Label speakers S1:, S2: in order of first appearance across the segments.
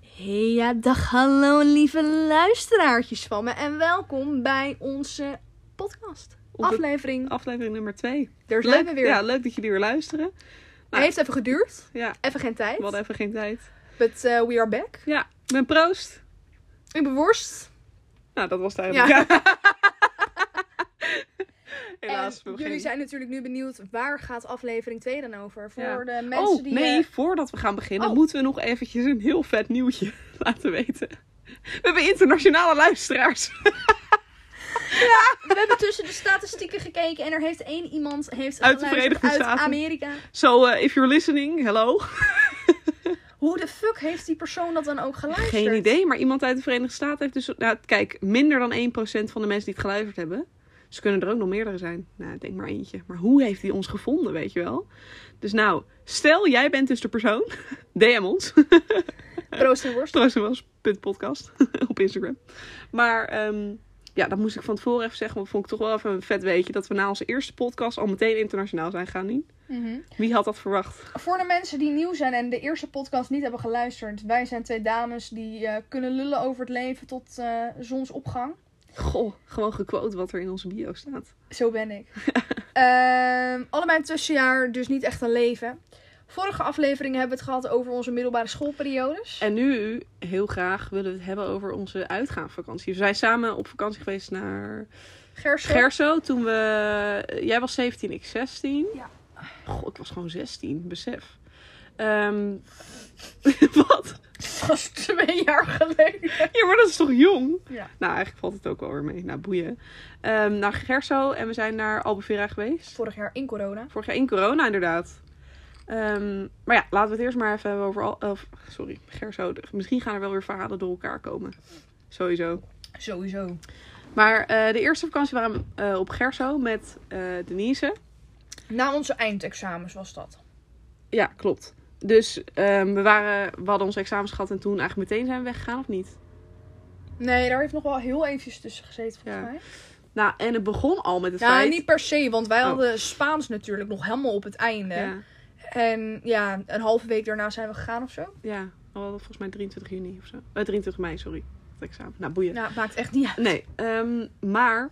S1: Hey, ja, dag hallo lieve luisteraartjes van me en welkom bij onze podcast.
S2: Op de-
S1: Aflevering,
S2: Aflevering nummer 2.
S1: daar zijn we weer.
S2: Ja, nou leuk dat jullie weer luisteren.
S1: Het heeft even geduurd,
S2: Ja,
S1: even geen tijd,
S2: we hadden even geen tijd.
S1: but eh, we are back.
S2: Ja, ik ben proost.
S1: Ik ben worst.
S2: Nou, dat was het eigenlijk. Helaas. we
S1: en
S2: hebben
S1: jullie
S2: geen-
S1: zijn natuurlijk nu benieuwd, waar gaat aflevering 2 dan over? Voor
S2: Ja.
S1: de mensen
S2: oh,
S1: die...
S2: nee,
S1: eh,
S2: voordat we gaan beginnen
S1: Oh.
S2: moeten we nog eventjes een heel vet nieuwtje laten weten. We hebben internationale luisteraars.
S1: we hebben tussen de statistieken gekeken en er heeft één iemand heeft
S2: Uit de
S1: geluisterd
S2: Verenigde
S1: uit
S2: Staten.
S1: Amerika.
S2: So, eh, if you're listening, hello.
S1: Hoe de fuck heeft die persoon dat dan ook geluisterd?
S2: Geen idee, maar iemand uit de Verenigde Staten heeft dus... Nou, kijk, minder dan 1% van de mensen die het geluisterd hebben. Ze kunnen er ook nog meerdere zijn. Nou, ik denk maar eentje. Maar hoe heeft hij ons gevonden, weet je wel? Dus nou, stel jij bent dus de persoon. DM ons.
S1: Proost en worst.
S2: Troostnummerspodcast op Instagram. Maar ehm, ja, dat moest ik van tevoren even zeggen. Want vond ik toch wel even een vet weetje. Dat we na onze eerste podcast al meteen internationaal zijn gaan Nien.
S1: Mhm.
S2: Wie had dat verwacht?
S1: Voor de mensen die nieuw zijn en de eerste podcast niet hebben geluisterd. Wij zijn twee dames die eh, kunnen lullen over het leven tot eh, zonsopgang.
S2: Goh, gewoon gequote wat er in onze bio staat.
S1: Zo ben ik. Ehm, allebei een tussenjaar, dus niet echt een leven. Vorige aflevering hebben we het gehad over onze middelbare schoolperiodes.
S2: En nu, heel graag, willen we het hebben over onze uitgaanvakantie. We zijn samen op vakantie geweest naar
S1: Gerso.
S2: Gerso. Toen we... Jij was 17, ik 16.
S1: Ja.
S2: Goh, ik was gewoon 16, besef. Ehm, wat?
S1: Dat was twee jaar geleden.
S2: Ja, maar dat is toch jong?
S1: Ja.
S2: Nou, eigenlijk valt het ook wel weer mee. Nou, boeien. Ehm, naar Gerso en we zijn naar Albufeira geweest.
S1: Vorig jaar in corona.
S2: Vorig jaar in corona, inderdaad. Ehm, maar ja, laten we het eerst maar even hebben over... Al of, sorry, Gerso. De- Misschien gaan er wel weer verhalen door elkaar komen. Sowieso.
S1: Sowieso.
S2: Maar eh, de eerste vakantie waren we eh, op Gerso met eh, Denise.
S1: Na onze eindexamens was dat.
S2: Ja, klopt. Dus ehm, we, waren, we hadden onze examens gehad en toen eigenlijk meteen zijn we weggegaan, of niet?
S1: Nee, daar heeft nog wel heel eventjes tussen gezeten volgens
S2: Ja.
S1: mij.
S2: Nou, en het begon al met het
S1: Ja,
S2: feit...
S1: niet per se, want wij
S2: Oh.
S1: hadden Spaans natuurlijk nog helemaal op het einde.
S2: Ja,
S1: En ja, een halve week daarna zijn we gegaan of zo.
S2: ja, we hadden volgens mij 23 juni of zo. Eh, 23 mei, sorry. Het examen. Nou, boeien.
S1: Nou, het maakt echt niet uit.
S2: Nee, ehm, maar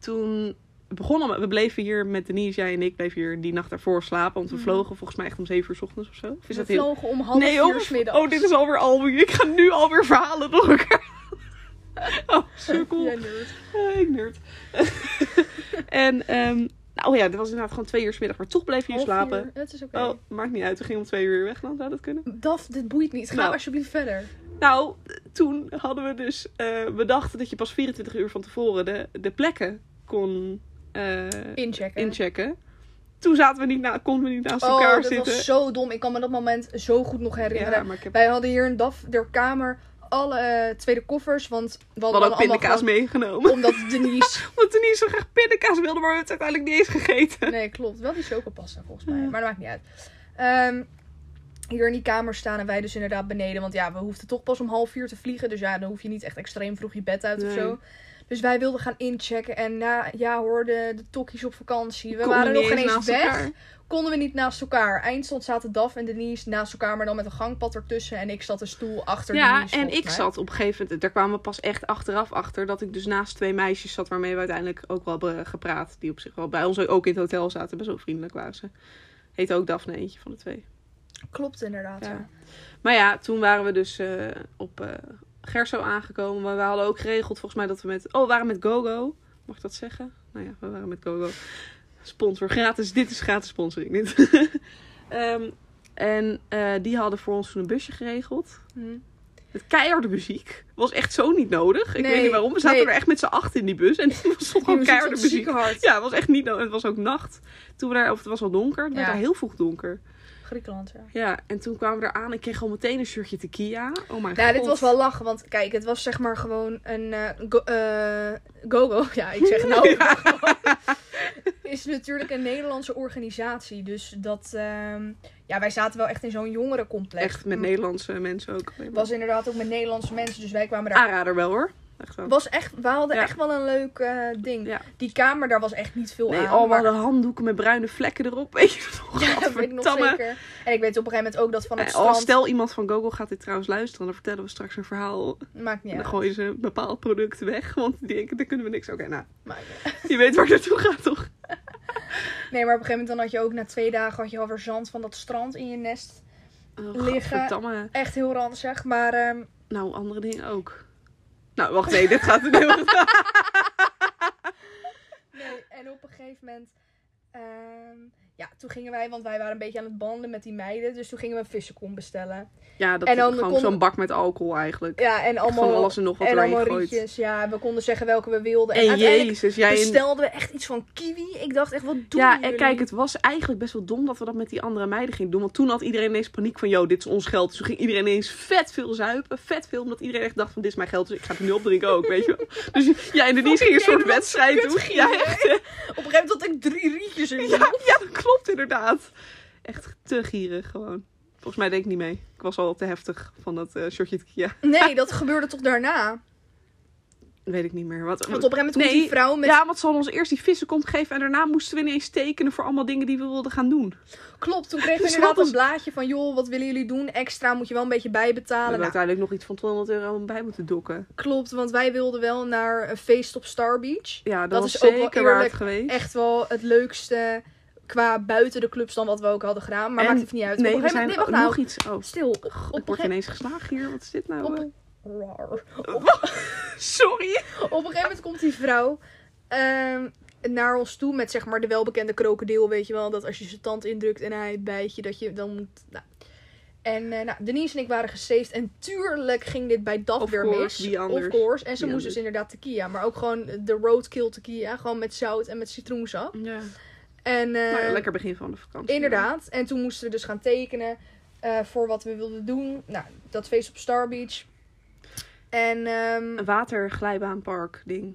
S2: toen begonnen we. We bleven hier met Denise, jij en ik bleven hier die nacht daarvoor slapen. Want we
S1: Mhm.
S2: vlogen volgens mij echt om 7 uur 's ochtends of zo. Of is
S1: we
S2: dat heel...
S1: vlogen om half
S2: nee,
S1: uur
S2: oh,
S1: 's middags.
S2: oh, dit is alweer alweer. Ik ga nu alweer verhalen door elkaar. Oh, sukkel.
S1: Ja, nerd.
S2: Eh, ik nerd. en, ehm nou ja, dat was inderdaad gewoon twee uur 's middag. Maar toch bleven jullie
S1: Half
S2: slapen.
S1: uur. Dat is oké.
S2: Oh, maakt niet uit. We gingen om twee uur weer weg dan. Zou dat kunnen?
S1: Daf, dit boeit niet. Ga
S2: Nou.
S1: alsjeblieft verder.
S2: Nou, toen hadden we dus... eh, we dachten dat je pas 24 uur van tevoren de, de plekken kon eh,
S1: Inchecken.
S2: inchecken. Toen zaten we niet na, konden we niet naast
S1: Oh,
S2: elkaar
S1: dat
S2: zitten.
S1: was zo dom. Ik kan me dat moment zo goed nog herinneren.
S2: ja, maar ik heb
S1: Wij hadden hier in Daf, der kamer, alle eh, tweede koffers. Want we
S2: we
S1: hadden,
S2: hadden ook
S1: allemaal
S2: pindakaas
S1: gewoon-
S2: meegenomen.
S1: Omdat Denise...
S2: Omdat we niet zo graag pindakaas wilden, maar we hebben het uiteindelijk niet eens gegeten.
S1: Nee, klopt. Wel die chocopasta volgens mij.
S2: Ja.
S1: Maar dat maakt niet uit. Ehm, hier in die kamer staan en wij dus inderdaad beneden. Want ja, we hoefden toch pas om half vier te vliegen. Dus ja, dan hoef je niet echt extreem vroeg je bed uit of
S2: Nee.
S1: zo. Dus wij wilden gaan inchecken. En na, ja hoor, de, de tokkies op vakantie. We
S2: Konden
S1: waren nog
S2: niet
S1: geen eens
S2: naast
S1: weg.
S2: elkaar.
S1: Konden we niet naast elkaar. Eindstand zaten Daf en Denise naast elkaar. Maar dan met een gangpad ertussen. En ik zat een stoel achter
S2: Ja,
S1: Denise.
S2: en
S1: volgens
S2: ik
S1: mij.
S2: zat op een gegeven moment, daar kwamen we pas echt achteraf achter, dat ik dus naast twee meisjes zat waarmee we uiteindelijk ook wel hebben gepraat. Die op zich wel bij ons ook in het hotel zaten, best wel vriendelijk waren ze. Heette ook Daphne, eentje van de twee.
S1: Klopt inderdaad.
S2: Ja.
S1: ja.
S2: Maar ja, toen waren we dus eh, op eh, Gerso aangekomen. Maar we hadden ook geregeld volgens mij dat we met, oh we waren met GoGo, mag ik dat zeggen? Nou ja, we waren met GoGo. Sponsor, gratis, dit is gratis sponsoring. Dit. Ehm, en eh, die hadden voor ons toen een busje geregeld.
S1: Hm.
S2: Met keiharde muziek. Was echt zo niet nodig. Ik
S1: Nee,
S2: weet niet waarom. We zaten
S1: nee.
S2: er echt met z'n acht in die bus. En er stond
S1: Die
S2: gewoon
S1: muziek
S2: keiharde
S1: stond
S2: muziek.
S1: zieke hard.
S2: Ja, het was echt niet nodig. Het was ook nacht. Toen we daar, of het was al donker. Het werd
S1: Ja.
S2: al heel vroeg donker.
S1: Griekenland, ja.
S2: Ja, en toen kwamen we eraan. Ik kreeg al meteen een shirtje tequila. Oh mijn god.
S1: Nou, dit was wel lachen, want kijk, het was zeg maar gewoon een eh, go- eh, go-go. ja, ik zeg nou. Is natuurlijk een Nederlandse organisatie. Dus dat. ehm, ja, wij zaten wel echt in zo'n jongerencomplex. Mm,
S2: Echt met Nederlandse mensen ook. alleen maar.
S1: Was inderdaad ook met Nederlandse mensen, dus wij kwamen daar.
S2: Aanrader wel hoor. Echt wel.
S1: Was echt, we hadden
S2: Ah, oh. Ja.
S1: echt wel een leuk eh, ding.
S2: Ja.
S1: Die kamer, daar was echt niet veel
S2: Nee, oh,
S1: aan.
S2: al
S1: maar-
S2: hadden handdoeken met bruine vlekken erop. Weet je nog?
S1: Ja, dat weet ik nog
S2: Gadverdamme.
S1: zeker. En ik weet op een gegeven moment ook dat van het
S2: Eh, al
S1: strand...
S2: stel iemand van Google gaat dit trouwens luisteren, dan vertellen we straks een verhaal.
S1: Maakt niet
S2: En
S1: uit.
S2: dan gooien ze een bepaald product weg, want die denken, daar kunnen we niks. Oké, nou,
S1: Maakt niet uit.
S2: je weet waar het naartoe gaat, toch?
S1: Nee, maar op een gegeven moment dan had je ook na twee dagen had je alweer zand van dat strand in je nest.
S2: Oh,
S1: Liggen.
S2: gadverdamme.
S1: Echt heel ranzig. Maar ehm,
S2: Nou, andere dingen ook. Nou, wacht, nee, dit gaat een heel...
S1: nee, en op een gegeven moment... ehm, ja, toen gingen wij, want wij waren een beetje aan het banden met die meiden. Dus toen gingen we een vissenkom bestellen.
S2: Ja, dat
S1: En
S2: is
S1: dan
S2: gewoon
S1: kon-
S2: zo'n bak met alcohol eigenlijk.
S1: Ja, en allemaal...
S2: van alles en nog wat
S1: en
S2: erin
S1: allemaal
S2: gegooid.
S1: rietjes. Ja, we konden zeggen welke we wilden. En,
S2: En
S1: uiteindelijk
S2: jezus, jij... in-
S1: bestelden we echt iets van kiwi. Ik dacht echt, wat doen
S2: Ja, en
S1: jullie?
S2: kijk, het was eigenlijk best wel dom dat we dat met die andere meiden gingen doen. Want toen had iedereen ineens paniek van, yo, dit is ons geld. Dus toen ging iedereen ineens vet veel zuipen. Vet veel, omdat iedereen echt dacht van, dit is mijn geld, dus ik ga het nu opdrinken ook, weet je wel. Dus ja, en Denise ging een soort
S1: Nederlandse
S2: wedstrijd doen.
S1: kutgier,
S2: Ja,
S1: hè?
S2: echt, hè?
S1: Op een gegeven moment had ik drie rietjes in
S2: ja, ja, dat klopt inderdaad. Echt te gierig gewoon. Volgens mij deed ik niet mee. Ik was al te heftig van dat eh, shotje tequila.
S1: Nee, dat gebeurde toch daarna?
S2: Weet ik niet meer. Wat,
S1: Want op een gegeven moment komt
S2: Nee,
S1: die vrouw met...
S2: Ja, want ze hadden ons eerst die vissen komt geven en daarna moesten we ineens tekenen voor allemaal dingen die we wilden gaan doen.
S1: Klopt, toen kregen we
S2: Dus
S1: inderdaad
S2: wat
S1: een blaadje van... joh, wat willen jullie doen? Extra moet je wel een beetje
S2: We
S1: bijbetalen.
S2: hebben
S1: Nou,
S2: uiteindelijk nog iets van 200 euro bij moeten dokken.
S1: klopt, want wij wilden wel naar een feest op Star Beach.
S2: Ja, dat,
S1: Dat
S2: was
S1: is ook wel
S2: zeker waard
S1: eerlijk.
S2: geweest.
S1: Echt wel het leukste qua buiten de clubs dan wat we ook hadden gedaan. Maar
S2: En-
S1: maakt even niet uit.
S2: Nee,
S1: op
S2: we
S1: een
S2: zijn
S1: gegeven moment...
S2: ook
S1: Nee,
S2: nog
S1: wacht nou.
S2: iets...
S1: Stil.
S2: Oh,
S1: Op
S2: ik
S1: een
S2: word
S1: gegeven
S2: ineens geslagen hier. Wat is dit nou?
S1: op
S2: eh?
S1: een- Rar.
S2: Sorry.
S1: Op een gegeven moment komt die vrouw ehm, naar ons toe met zeg maar de welbekende krokodil. Weet je wel, dat als je zijn tand indrukt en hij bijt je, dat je dan moet... Nou. En eh, nou, Denise en ik waren gesteefd. En tuurlijk ging dit bij dat
S2: Of
S1: weer
S2: course,
S1: mis.
S2: wie anders?
S1: Of course. En ze
S2: Wie
S1: moest
S2: anders?
S1: dus inderdaad tequila. Maar ook gewoon de roadkill tequila. Gewoon met zout en met citroensap.
S2: Ja.
S1: En eh,
S2: Nou, lekker begin van de vakantie.
S1: inderdaad. En toen moesten we dus gaan tekenen eh, voor wat we wilden doen. Nou, dat feest op Star Beach. En ehm,
S2: Een waterglijbaanpark ding.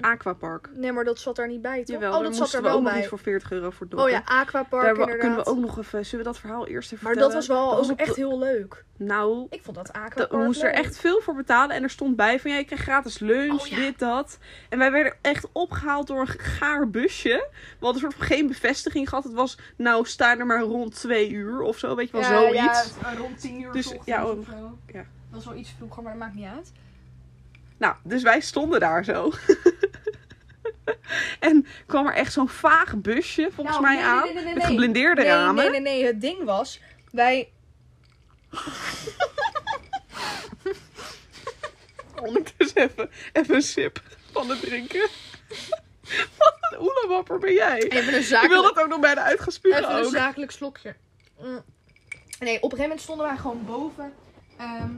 S2: Aquapark.
S1: Nee, maar dat zat daar niet bij, toch?
S2: Jawel,
S1: oh,
S2: daar
S1: dat
S2: moesten
S1: zat er
S2: we
S1: wel
S2: ook nog
S1: bij.
S2: iets voor 40 euro voor dokken.
S1: Oh ja, Aquapark
S2: Daar wa-
S1: inderdaad.
S2: kunnen we ook nog even... Zullen we dat verhaal eerst even
S1: maar dat
S2: vertellen?
S1: was wel
S2: Dat was
S1: ook
S2: op-
S1: echt heel leuk.
S2: Nou,
S1: Ik vond dat
S2: Dat-
S1: Aquapark
S2: we moesten er
S1: leuk.
S2: echt veel voor betalen. En er stond bij van, ja, je krijgt gratis lunch,
S1: Oh, ja.
S2: dit, dat. En wij werden echt opgehaald door een gaar busje. We hadden soort van geen bevestiging gehad. Het was, nou, sta er maar rond twee uur of zo, weet je wel, zoiets.
S1: Ja, rond 10 uur
S2: Dus,
S1: dus, ochtends
S2: ja,
S1: ja,
S2: oh,
S1: of zo.
S2: ja.
S1: Dat was wel iets vroeger, maar dat maakt niet uit.
S2: Nou, dus wij stonden daar zo. en kwam er echt zo'n vaag busje, volgens
S1: Nou,
S2: mij,
S1: nee,
S2: aan.
S1: nee, nee, nee,
S2: Met
S1: nee.
S2: geblindeerde
S1: nee,
S2: ramen.
S1: Nee, nee, nee. Het ding was, wij...
S2: Ondertussen dus even, even een sip van het drinken. Wat een oelewapper ben jij.
S1: Even een
S2: Ik wil
S1: zakelijk,
S2: dat ook nog bijna uitgespugen
S1: even een
S2: ook.
S1: zakelijk slokje. Mm. Nee, op een gegeven moment stonden wij gewoon boven ehm,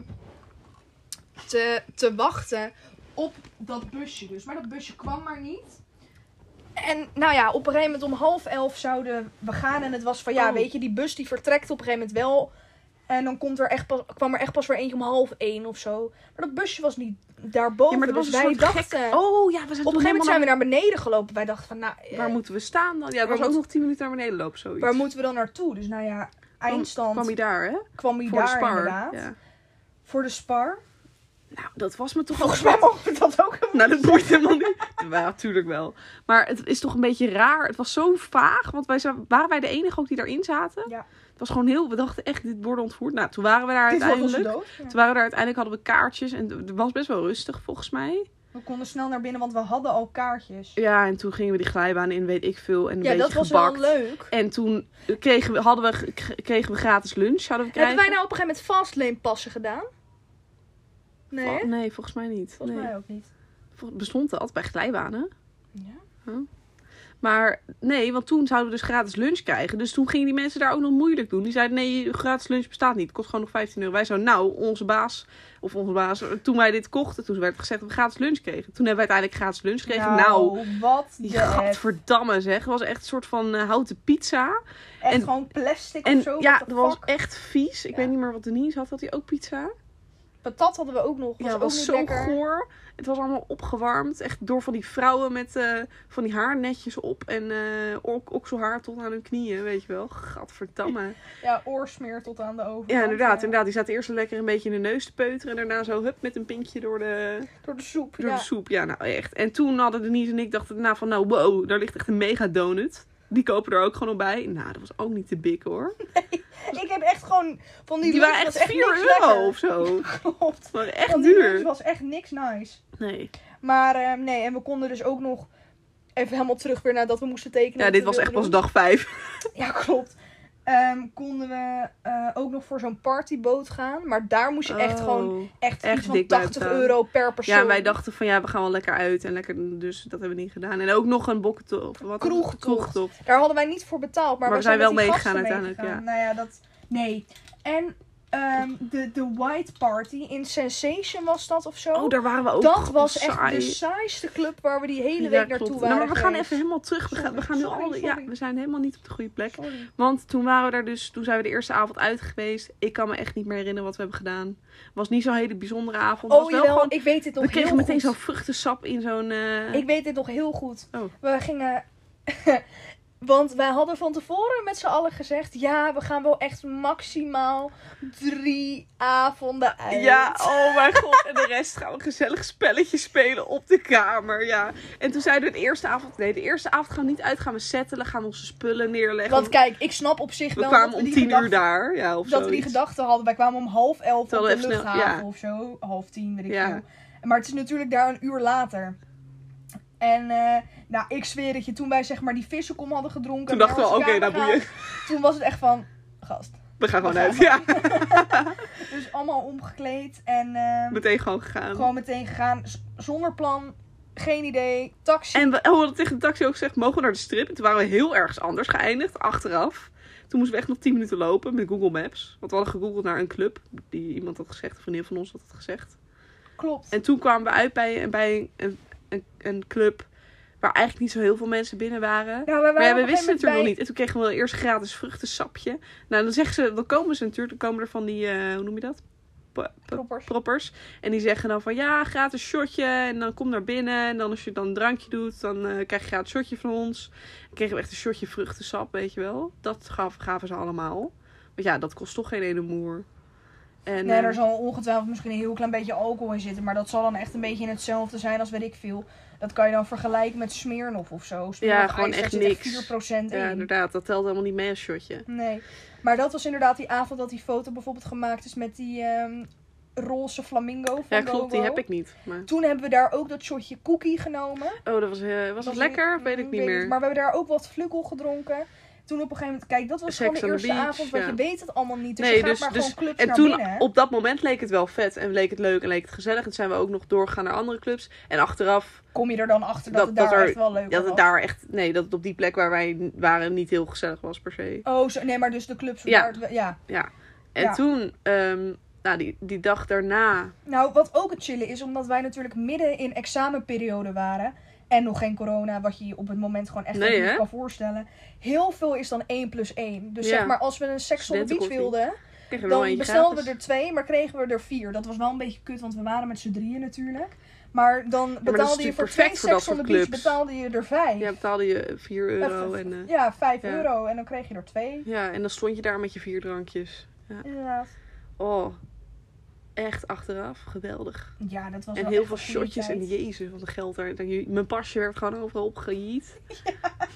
S1: te, te wachten op dat busje dus. Maar dat busje kwam maar niet. En nou ja, op een gegeven moment om half elf zouden we gaan. En het was van ja,
S2: Oh.
S1: weet je, die bus die vertrekt op een gegeven moment wel. En dan komt er echt pas, kwam er echt pas weer eentje om half één of zo. Maar dat busje was niet daarboven.
S2: Ja, maar dat was
S1: dus
S2: een
S1: wij
S2: soort
S1: dachten.
S2: gek... Oh ja, we zijn
S1: Op een
S2: toen
S1: gegeven moment zijn
S2: helemaal
S1: we naar beneden gelopen. Wij dachten van nou, eh,
S2: naar- Waar moeten we staan dan? Ja,
S1: Waar
S2: het was ook
S1: moet-
S2: nog 10 minuten naar beneden lopen, zoiets.
S1: waar moeten we dan naartoe? Dus nou ja, eindstand
S2: Kwam je daar, hè?
S1: kwam hij
S2: Voor de
S1: daar
S2: spar.
S1: inderdaad.
S2: Ja.
S1: Voor de spar.
S2: Nou, dat was me toch
S1: Volgens mij mogen we dat ook helemaal
S2: Nou, dat boeit helemaal niet. Ja, natuurlijk wel. Maar het is toch een beetje raar. Het was zo vaag, want wij zijn, waren wij de enige ook die daarin zaten?
S1: Ja.
S2: Het was gewoon heel... We dachten echt, dit worden ontvoerd. Nou, toen waren we daar
S1: Dit was onze
S2: uiteindelijk...
S1: dood. ja.
S2: Toen waren we daar uiteindelijk, hadden we kaartjes. En het was best wel rustig, volgens mij.
S1: We konden snel naar binnen, want we hadden al kaartjes.
S2: Ja, en toen gingen we die glijbaan in, weet ik veel. En een
S1: Ja,
S2: beetje
S1: dat was
S2: gebakt.
S1: wel leuk.
S2: En toen kregen we, hadden we, g- kregen we gratis lunch. Hadden we krijgen.
S1: Hebben wij nou op een gegeven moment fastlane passen gedaan? Nee, hè?
S2: Val- nee, volgens mij niet.
S1: volgens
S2: nee.
S1: mij ook niet.
S2: Vol- Bestond dat bij glijbanen?
S1: Ja.
S2: Maar nee, want toen zouden we dus gratis lunch krijgen. Dus toen gingen die mensen daar ook nog moeilijk doen. Die zeiden, nee, gratis lunch bestaat niet. Het kost gewoon nog 15 euro. Wij zouden, nou, onze baas, of onze baas, toen wij dit kochten, toen werd gezegd dat we gratis lunch kregen. Toen hebben we uiteindelijk gratis lunch gekregen. Nou,
S1: wat
S2: die
S1: de F.
S2: gadverdamme zeg. Het was echt een soort van eh, houten pizza.
S1: Echt
S2: en-
S1: gewoon plastic
S2: En
S1: of zo.
S2: ja,
S1: what the
S2: dat was
S1: fuck?
S2: echt vies. Ik
S1: Ja.
S2: weet niet meer wat Denise had. Had hij ook pizza?
S1: patat hadden we ook nog. Was
S2: ja, het
S1: ook
S2: was
S1: niet
S2: zo
S1: lekker.
S2: goor. Het was allemaal opgewarmd. Echt door van die vrouwen met eh, van die haar netjes op. En eh ook okselhaar tot aan hun knieën, weet je wel. Gadverdamme.
S1: Ja, oorsmeer tot aan de overkant.
S2: Ja, inderdaad. inderdaad. Die zaten eerst lekker een beetje in de neus te peuteren. En daarna zo hup met een pinkje door de,
S1: Door de soep.
S2: door
S1: ja.
S2: de soep. Ja, nou echt. En toen hadden Denise en ik dachten daarna van... Nou, wow, daar ligt echt een mega donut. Die kopen er ook gewoon al bij. Nou, dat was ook niet te bik hoor.
S1: Ik heb echt gewoon van die
S2: Die, waren
S1: lunch
S2: echt
S1: was
S2: 4
S1: niks
S2: euro
S1: lekker.
S2: of zo.
S1: Klopt.
S2: Het waren echt
S1: Van die lunch
S2: duur.
S1: was echt niks nice.
S2: Nee.
S1: Maar ehm, nee, en we konden dus ook nog even helemaal terug weer nadat we moesten tekenen.
S2: Ja,
S1: wat
S2: dit
S1: we
S2: was echt pas
S1: wilden
S2: dag 5.
S1: doen. Ja, klopt. Ehm, konden we eh, ook nog voor zo'n partyboot gaan. Maar daar moest je echt gewoon echt,
S2: Oh, echt
S1: iets van
S2: dik
S1: 80
S2: blijven.
S1: euro per persoon.
S2: Ja, en wij dachten van ja, we gaan wel lekker uit. En lekker, dus dat hebben we niet gedaan. En ook nog een bokkentocht. Wat een
S1: Kroegtocht.
S2: kroegtocht.
S1: Daar hadden wij niet voor betaald, maar,
S2: Maar
S1: we
S2: we
S1: zijn,
S2: zijn
S1: met
S2: wel
S1: die gasten
S2: meegegaan uiteindelijk,
S1: meegegaan. Nou ja, dat... Nee. En ehm, de, de White Party in Sensation was dat of zo.
S2: Oh, daar waren we ook.
S1: dat was echt
S2: saai.
S1: de saaiste club waar we die hele
S2: Ja,
S1: week naartoe
S2: klopt. Nou,
S1: waren
S2: maar we gaan
S1: geweest.
S2: even helemaal terug. We gaan, we
S1: Sorry,
S2: gaan nu
S1: sorry,
S2: al.
S1: sorry.
S2: Ja, we zijn helemaal niet op de goede plek.
S1: Sorry.
S2: Want toen waren we daar dus, toen zijn we de eerste avond uit geweest. Ik kan me echt niet meer herinneren wat we hebben gedaan. Was niet zo'n hele bijzondere avond.
S1: Oh,
S2: was wel
S1: jawel,
S2: gewoon,
S1: ik weet dit nog
S2: we kregen
S1: heel
S2: meteen
S1: goed.
S2: zo'n vruchtensap in zo'n. eh,
S1: Ik weet dit nog heel goed.
S2: Oh.
S1: We gingen... Want wij hadden van tevoren met z'n allen gezegd... Ja, we gaan wel echt maximaal drie avonden uit.
S2: Ja, oh mijn god. En de rest gaan we gezellig spelletjes spelen op de kamer. Ja. En toen zeiden we de eerste avond. Nee, de eerste avond gaan we niet uit. Gaan we settelen. Gaan we onze spullen neerleggen.
S1: Want kijk, ik snap op zich
S2: we
S1: wel...
S2: kwamen
S1: dat
S2: om
S1: die
S2: tien uur
S1: gedachte-
S2: daar. Ja, of
S1: dat we die
S2: zoiets.
S1: gedachten hadden. Wij kwamen om half elf
S2: Terwijl
S1: op de
S2: even snel-
S1: luchthaven
S2: ja.
S1: of zo. Half tien, weet ik
S2: Ja.
S1: veel. Maar het is natuurlijk daar een uur later. En eh, nou, ik zweer dat je toen wij zeg maar die vissenkom hadden gedronken.
S2: Toen
S1: en
S2: dachten we,
S1: naar
S2: oké,
S1: onze
S2: nou
S1: kamer
S2: boeien.
S1: gaan, Toen was het echt van, gast.
S2: We gaan gewoon uit. Ja,
S1: Dus allemaal omgekleed en eh,
S2: meteen gewoon gegaan.
S1: gewoon meteen gegaan. Z- zonder plan, geen idee, taxi.
S2: En we, oh, we hadden tegen de taxi ook gezegd, mogen we naar de strip? En toen waren we heel ergens anders geëindigd, achteraf. Toen moesten we echt nog 10 minuten lopen met Google Maps. Want we hadden gegoogeld naar een club die iemand had gezegd, een vriendin van ons had het gezegd.
S1: Klopt.
S2: En toen kwamen we uit bij, bij een, een, een club waar eigenlijk niet zo heel veel mensen binnen waren.
S1: Ja, wij
S2: Maar ja,
S1: waren
S2: we
S1: op een
S2: wisten
S1: gegeven
S2: het er nog
S1: moment
S2: niet. En toen kregen we eerst gratis vruchtensapje. Nou, dan zeggen ze, dan komen ze natuurlijk, dan komen er van die, eh, hoe noem je dat? Pa-
S1: bij
S2: pa-
S1: proppers.
S2: proppers. En die zeggen dan van ja, gratis shotje. En dan kom naar binnen. En dan als je dan een drankje doet, dan eh, krijg je gratis shotje van ons. Dan kregen we echt een shotje vruchtensap, weet je wel. Dat gaf, gaven ze allemaal. Want ja, dat kost toch geen ene moer. En,
S1: Nee,
S2: eh,
S1: er zal ongetwijfeld misschien een heel klein beetje alcohol in zitten. Maar dat zal dan echt een beetje in hetzelfde zijn als weet ik veel. Dat kan je dan vergelijken met Smirnoff of zo. Smirnoff
S2: Ja, gewoon
S1: Ice, daar
S2: echt
S1: zit
S2: niks.
S1: 4%
S2: ja,
S1: in.
S2: inderdaad, dat telt helemaal niet mee als shotje.
S1: Nee. Maar dat was inderdaad die avond dat die foto bijvoorbeeld gemaakt is met die ehm, roze flamingo. Van
S2: Ja, klopt, die
S1: Gogo.
S2: heb ik niet. Maar...
S1: Toen hebben we daar ook dat shotje cookie genomen.
S2: Oh, dat was, eh, was dat
S1: Was
S2: lekker? Weet ik niet meer.
S1: Maar we hebben daar ook wat flukkel gedronken. Toen op een gegeven moment, kijk, dat was
S2: Sex
S1: gewoon de
S2: on the
S1: eerste
S2: beach,
S1: avond, want
S2: ja.
S1: je weet het allemaal niet. Dus
S2: Nee,
S1: je gaat
S2: dus-
S1: maar
S2: dus-
S1: gewoon clubs
S2: En
S1: naar
S2: toen,
S1: binnen.
S2: op dat moment leek het wel vet en leek het leuk en leek het gezellig. En toen zijn we ook nog doorgegaan naar andere clubs. En achteraf
S1: Kom je er dan achter dat,
S2: dat-
S1: het daar
S2: dat er-
S1: echt wel leuk
S2: Ja, dat
S1: was.
S2: het daar echt. Nee, dat het op die plek waar wij waren niet heel gezellig was per se.
S1: Oh, zo, nee, maar dus de clubs.
S2: Ja.
S1: waar het- ja.
S2: En
S1: Ja.
S2: toen, ehm, nou, die, die dag daarna.
S1: Nou, wat ook het chillen is, omdat wij natuurlijk midden in examenperiode waren. En nog geen corona, wat je je op het moment gewoon echt
S2: Nee,
S1: nog niet
S2: hè?
S1: kan voorstellen. Heel veel is dan 1 plus 1. Dus
S2: Ja.
S1: zeg maar, als we een seks on the beach
S2: Studentenkoffie.
S1: wilden,
S2: Kregen we
S1: dan
S2: nog eentje
S1: bestelden we
S2: gratis.
S1: er twee, maar kregen we er vier. Dat was wel een beetje kut, want we waren met z'n drieën natuurlijk. Maar dan
S2: dat
S1: betaalde
S2: is
S1: je
S2: natuurlijk
S1: voor twee
S2: perfect voor dat
S1: seks on the
S2: soort
S1: beach,
S2: clubs.
S1: betaalde je er vijf.
S2: Ja, betaalde je 4 euro.
S1: Even-
S2: En, eh,
S1: ja, vijf
S2: ja.
S1: euro. En dan kreeg je er twee.
S2: ja, en dan stond je daar met je vier drankjes.
S1: Inderdaad.
S2: Oh, echt achteraf geweldig.
S1: Ja, dat was
S2: En
S1: wel
S2: heel
S1: echt
S2: veel
S1: een goede
S2: shotjes.
S1: tijd.
S2: En jezus, wat een geld daar. dat je- Mijn pasje werd gewoon overal opgejiet.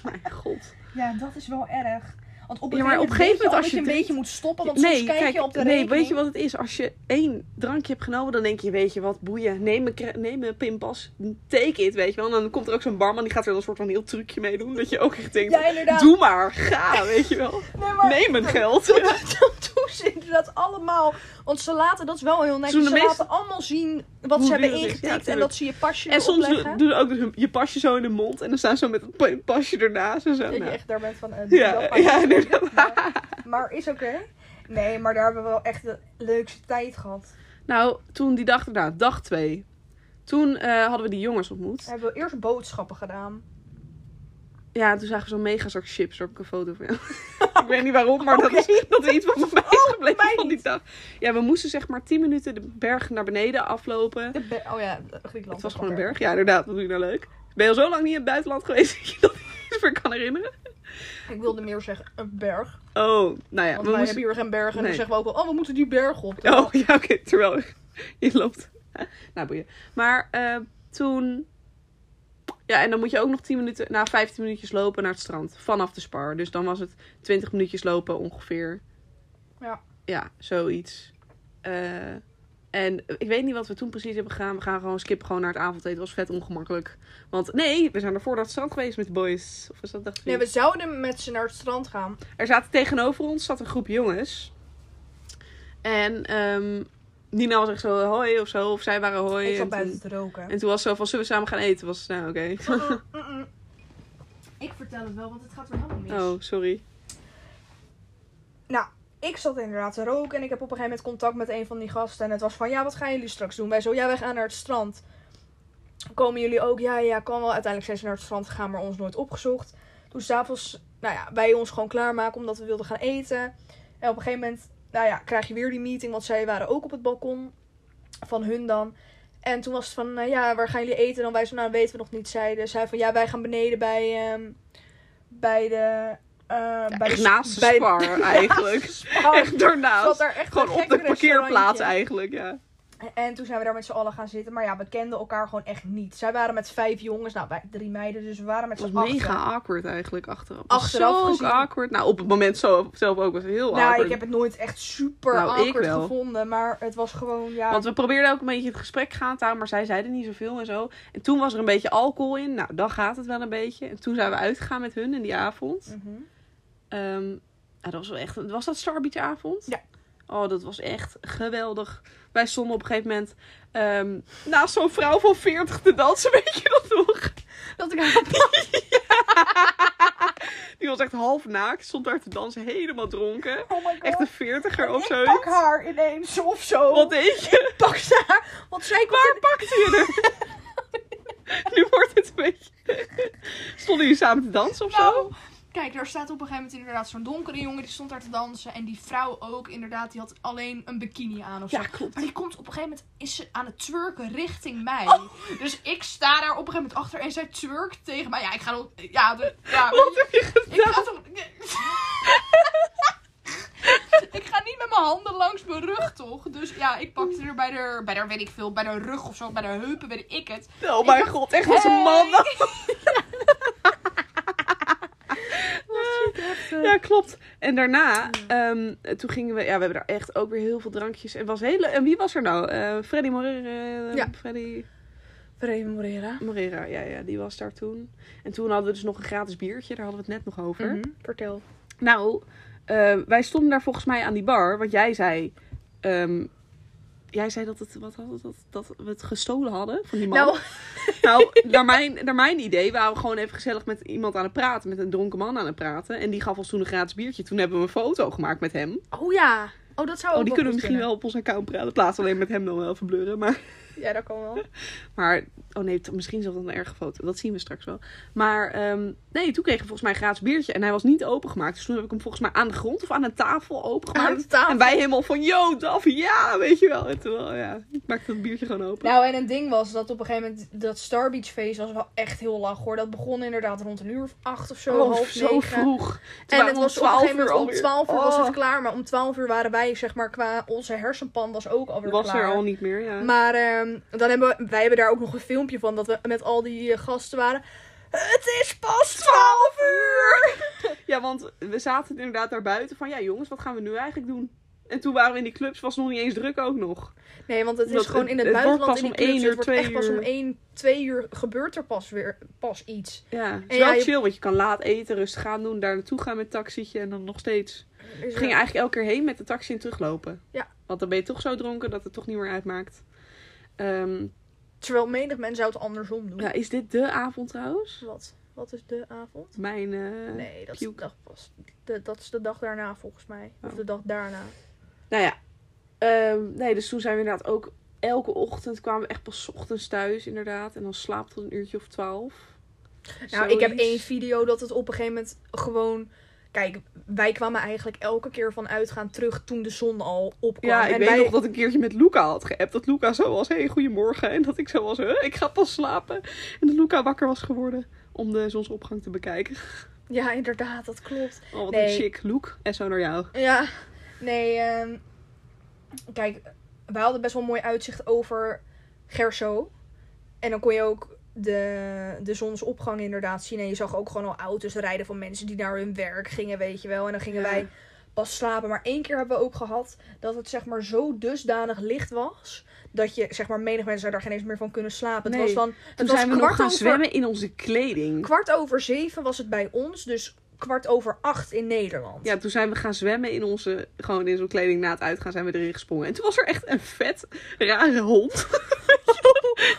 S2: Mijn god.
S1: Ja, dat is wel erg. Want op een
S2: Ja, maar
S1: gegeven moment,
S2: op een
S1: weet je
S2: gegeven moment
S1: al
S2: als
S1: dat
S2: je
S1: je een
S2: drinkt-
S1: beetje moet stoppen, want soms kijk, je op de
S2: nee,
S1: rekening.
S2: weet je wat het is? Als je één drankje hebt genomen, dan denk je, weet je wat, boeien. Neem een, cre- neem een pinpas, take it, weet je wel. En dan komt er ook zo'n barman, die gaat er een soort van heel trucje mee doen. Dat je ook echt denkt,
S1: Ja, inderdaad.
S2: doe maar, ga, weet je wel.
S1: nee, maar
S2: Neem een geld. Ja.
S1: dat doen ze inderdaad allemaal. Want ze laten, dat is wel heel netjes,
S2: Ze
S1: ze
S2: doen de meeste-
S1: laten allemaal zien wat
S2: Hoe
S1: ze hebben
S2: duur het is. Ja,
S1: ingetikt en
S2: tuurlijk.
S1: dat ze je pasje
S2: En soms
S1: opleggen.
S2: doen doen ze ook dus hun- je pasje zo in de mond. En dan staan ze zo met het pa- pasje ernaast en zo.
S1: Dat je
S2: Nou,
S1: echt daar bent van, eh, doe dat
S2: Ja,
S1: maar.
S2: ja, inderdaad.
S1: Maar is oké. Nee, maar daar hebben we wel echt de leukste tijd gehad.
S2: Nou, toen die dag erna, dag twee. Toen eh, hadden we die jongens ontmoet.
S1: We hebben eerst boodschappen gedaan.
S2: Ja, en toen zagen we zo'n megazak chips. Daar heb ik een foto van. ik weet niet waarom, maar dat, is, dat is iets wat me bij is gebleven
S1: mij
S2: van die dag. Ja, we moesten zeg maar 10 minuten de berg naar beneden aflopen.
S1: De ber- oh ja, Griekenland.
S2: Het was gewoon een berg. Ja, inderdaad. Wat doe je nou leuk? Ben je al zo lang niet in het buitenland geweest dat je dat niet eens meer kan herinneren?
S1: Ik wilde meer zeggen een berg. Want
S2: Oh, nou
S1: wij
S2: ja. we moesten...
S1: hebben hier geen berg. En
S2: Nee.
S1: dan zeggen we ook wel, oh, we moeten die berg op.
S2: Oh, ja, oké. terwijl je loopt. nou, boeien. Maar eh, toen... Ja, en dan moet je ook nog 10 minuten, na 15 minuutjes lopen naar het strand. Vanaf de spar. Dus dan was het 20 minuutjes lopen ongeveer.
S1: Ja.
S2: Ja, zoiets. Eh, en ik weet niet wat we toen precies hebben gedaan. We gaan gewoon skip gewoon naar het avondeten. was vet ongemakkelijk. Want nee, we zijn ervoor naar het strand geweest met de boys. Of is dat dacht
S1: Nee, we zouden met ze naar het strand gaan.
S2: er zaten tegenover ons zat een groep jongens. En ehm Nina was echt zo hoi of zo. Of zij waren hoi.
S1: ik
S2: en,
S1: zat buiten
S2: toen,
S1: te roken.
S2: en toen was ze zo van zullen we samen gaan eten? Was nou oké.
S1: Mm-mm, mm-mm. Ik vertel het wel, want het gaat weer helemaal mis.
S2: Oh, sorry.
S1: Nou, ik zat inderdaad te roken en ik heb op een gegeven moment contact met een van die gasten. En het was van, ja, wat gaan jullie straks doen? Wij zo, ja, wij gaan naar het strand. Komen jullie ook? Ja, ja, kan wel. Uiteindelijk zijn ze naar het strand gegaan, maar ons nooit opgezocht. Toen s'avonds, nou ja, wij ons gewoon klaarmaken omdat we wilden gaan eten. En op een gegeven moment, nou ja, krijg je weer die meeting, want zij waren ook op het balkon van hun dan. En toen was het van, nou ja, waar gaan jullie eten? Dan wij zo, nou, dat weten we nog niet, zeiden. Zij van, ja, wij gaan beneden bij, ehm, bij de... eh, bij
S2: echt
S1: de-
S2: naast de
S1: bij- Oh,
S2: spar eigenlijk.
S1: Naast de spar.
S2: Echt
S1: Zat
S2: daarnaast.
S1: daar echt
S2: Gewoon
S1: een
S2: op
S1: gek
S2: de parkeerplaats
S1: restaurantje.
S2: eigenlijk, ja.
S1: En toen zijn we daar met z'n allen gaan zitten. Maar ja, we kenden elkaar gewoon echt niet. Zij waren met vijf jongens, nou wij drie meiden, dus we waren met
S2: Het
S1: z'n
S2: was
S1: allen.
S2: mega awkward eigenlijk achteraf. Het was
S1: Achteraf
S2: zo
S1: gezien.
S2: awkward. Nou, op het moment zo, zelf ook was het heel
S1: Nou,
S2: awkward.
S1: ik heb het nooit echt super
S2: Nou, ik
S1: awkward
S2: wel.
S1: gevonden. Maar het was gewoon, ja...
S2: Want we probeerden ook een beetje het gesprek gaan te houden, maar zij zeiden niet zoveel en zo. En toen was er een beetje alcohol in. Nou, dan gaat het wel een beetje. En toen zijn we uitgegaan met hun in die avond.
S1: Mhm.
S2: Ehm, nou, dat was wel echt... Was dat Star Beach avond?
S1: Ja.
S2: Oh, dat was echt geweldig. Wij stonden op een gegeven moment ehm, naast zo'n vrouw van 40 te dansen. Weet je dat nog?
S1: Dat ik haar
S2: Die was echt half naakt. Stond daar te dansen, helemaal dronken.
S1: Oh my god.
S2: Echt een veertiger of
S1: ik
S2: zoiets.
S1: pak haar ineens of zo.
S2: Wat deed je?
S1: Ik pak ze haar. Want zij kwam...
S2: Waar pakte je er? nu wordt het een beetje... Stonden jullie samen te dansen of zo?
S1: Nou, Kijk, daar staat op een gegeven moment inderdaad zo'n donkere jongen. Die stond daar te dansen. En die vrouw ook inderdaad. Die had alleen een bikini aan of zo.
S2: klopt.
S1: Maar die komt op een gegeven moment is ze aan het twerken richting mij. Dus ik sta daar op een gegeven moment achter en zij twerkt tegen mij. Ja, ik ga dan. Ja, de, ja
S2: Wat heb je gedaan?
S1: ik ga toch. ik ga niet met mijn handen langs mijn rug, toch? Dus ja, ik pakte er bij haar, bij haar, weet ik veel, bij haar rug of zo, bij haar heupen, weet ik het.
S2: Oh mijn god, echt als een man.
S1: eh,
S2: Ja, klopt. En daarna, ehm, toen gingen we... Ja, we hebben daar echt ook weer heel veel drankjes. En, was hele, en wie was er nou? Eh, Freddy Morera. eh,
S1: Ja.
S2: Freddy
S1: Vreemde Morera.
S2: Morera, ja, ja, die was daar toen. En toen hadden we dus nog een gratis biertje. Daar hadden we het net nog over.
S1: Mhm. Vertel.
S2: Nou, eh, wij stonden daar volgens mij aan die bar. Want jij zei. ehm, jij zei dat, het, wat had het, dat, dat we het gestolen hadden van die man.
S1: Nou,
S2: Nou, naar mijn, naar mijn idee waren we gewoon even gezellig met iemand aan het praten. Met een dronken man aan het praten. En die gaf ons toen een gratis biertje. Toen hebben we een foto gemaakt met hem.
S1: oh ja. Oh, dat zou
S2: Oh,
S1: ook
S2: die
S1: wel
S2: kunnen we
S1: goed
S2: misschien wel op ons account praten. Plaatsen alleen met hem dan wel verblurren. Maar,
S1: Ja, dat kan wel.
S2: maar oh nee, t- misschien is dat een erge foto. Dat zien we straks wel. Maar ehm, nee, toen kregen we volgens mij een gratis biertje. En hij was niet opengemaakt. Dus toen heb ik hem volgens mij aan de grond of aan een tafel opengemaakt.
S1: Aan de tafel.
S2: En wij helemaal van, yo, Daf, ja, weet je wel. En terwijl, ja, ik maakte dat biertje gewoon open.
S1: Nou, en een ding was dat op een gegeven moment dat Star Beach feest was wel echt heel lang hoor. Dat begon inderdaad rond een uur of acht of zo,
S2: Oh,
S1: half
S2: zo
S1: negen.
S2: vroeg. Toen
S1: En
S2: waren
S1: het was
S2: we om
S1: op een
S2: 12
S1: gegeven moment om
S2: alweer.
S1: 12 uur was
S2: Oh,
S1: het klaar, maar om 12 uur waren wij, zeg maar, qua onze hersenpan was ook alweer
S2: Was
S1: klaar.
S2: er al niet meer, ja.
S1: Maar ehm, dan hebben we, wij hebben daar ook nog een filmpje van dat we met al die eh, gasten waren. Het is pas 12 uur!
S2: Ja, want we zaten inderdaad daar buiten van, ja jongens, wat gaan we nu eigenlijk doen? En toen waren we in die clubs, was het nog niet eens druk ook nog.
S1: Nee, want het is
S2: Dat-
S1: gewoon in het,
S2: het wordt
S1: buitenland
S2: pas
S1: in die
S2: om
S1: clubs,
S2: één
S1: het
S2: uur,
S1: wordt
S2: twee
S1: echt pas om
S2: uur.
S1: 1, 2 uur gebeurt er pas weer pas iets.
S2: Ja, het is
S1: ja,
S2: wel
S1: je-
S2: chill, want je kan laat eten, rustig gaan doen, daar naartoe gaan met taxietje en dan nog steeds.
S1: Dus
S2: We gingen eigenlijk elke keer heen met de taxi en teruglopen.
S1: Ja.
S2: Want dan ben je toch zo dronken dat het toch niet meer uitmaakt. Ehm,
S1: Terwijl menig men zou het andersom doen.
S2: ja, is dit de avond trouwens?
S1: Wat? Wat is de avond?
S2: Mijn, eh,
S1: Nee, dat is de
S2: puke.
S1: dag pas. de- dat is de dag daarna volgens mij. Of
S2: Oh.
S1: de dag daarna.
S2: Nou ja. Ehm, nee, dus toen zijn we inderdaad ook elke ochtend kwamen we echt pas 's ochtends thuis, inderdaad. En dan slaap tot een uurtje of twaalf.
S1: Nou, ik heb
S2: Zoiets.
S1: één video dat het op een gegeven moment gewoon. Kijk, wij kwamen eigenlijk elke keer van uitgaan terug toen de zon al opkwam.
S2: Ja, ik
S1: en
S2: weet
S1: wij-
S2: nog dat ik een keertje met Luca had geappt. Dat Luca zo was, hey, goedemorgen. En dat ik zo was, huh, ik ga pas slapen. En dat Luca wakker was geworden om de zonsopgang te bekijken.
S1: Ja, inderdaad, dat klopt.
S2: Oh, wat
S1: Nee.
S2: een chic look. En zo naar jou.
S1: Ja, nee. ehm, kijk, wij hadden best wel een mooi uitzicht over Gerso. En dan kon je ook de, de zonsopgang inderdaad zien. En je zag ook gewoon al auto's rijden van mensen die naar hun werk gingen, weet je wel. En dan gingen
S2: Ja.
S1: wij pas slapen. Maar één keer hebben we ook gehad dat het zeg maar zo dusdanig licht was... dat je, zeg maar, menig mensen zou daar geen eens meer van kunnen slapen.
S2: Nee.
S1: Het was dan... Het
S2: Toen
S1: was
S2: zijn we nog
S1: kwart
S2: gaan
S1: over-
S2: zwemmen in onze kleding.
S1: Kwart over zeven was het bij ons, dus kwart over acht in Nederland.
S2: Ja, toen zijn we gaan zwemmen in onze, gewoon in zo'n kleding. Na het uitgaan zijn we erin gesprongen. En toen was er echt een vet, rare hond.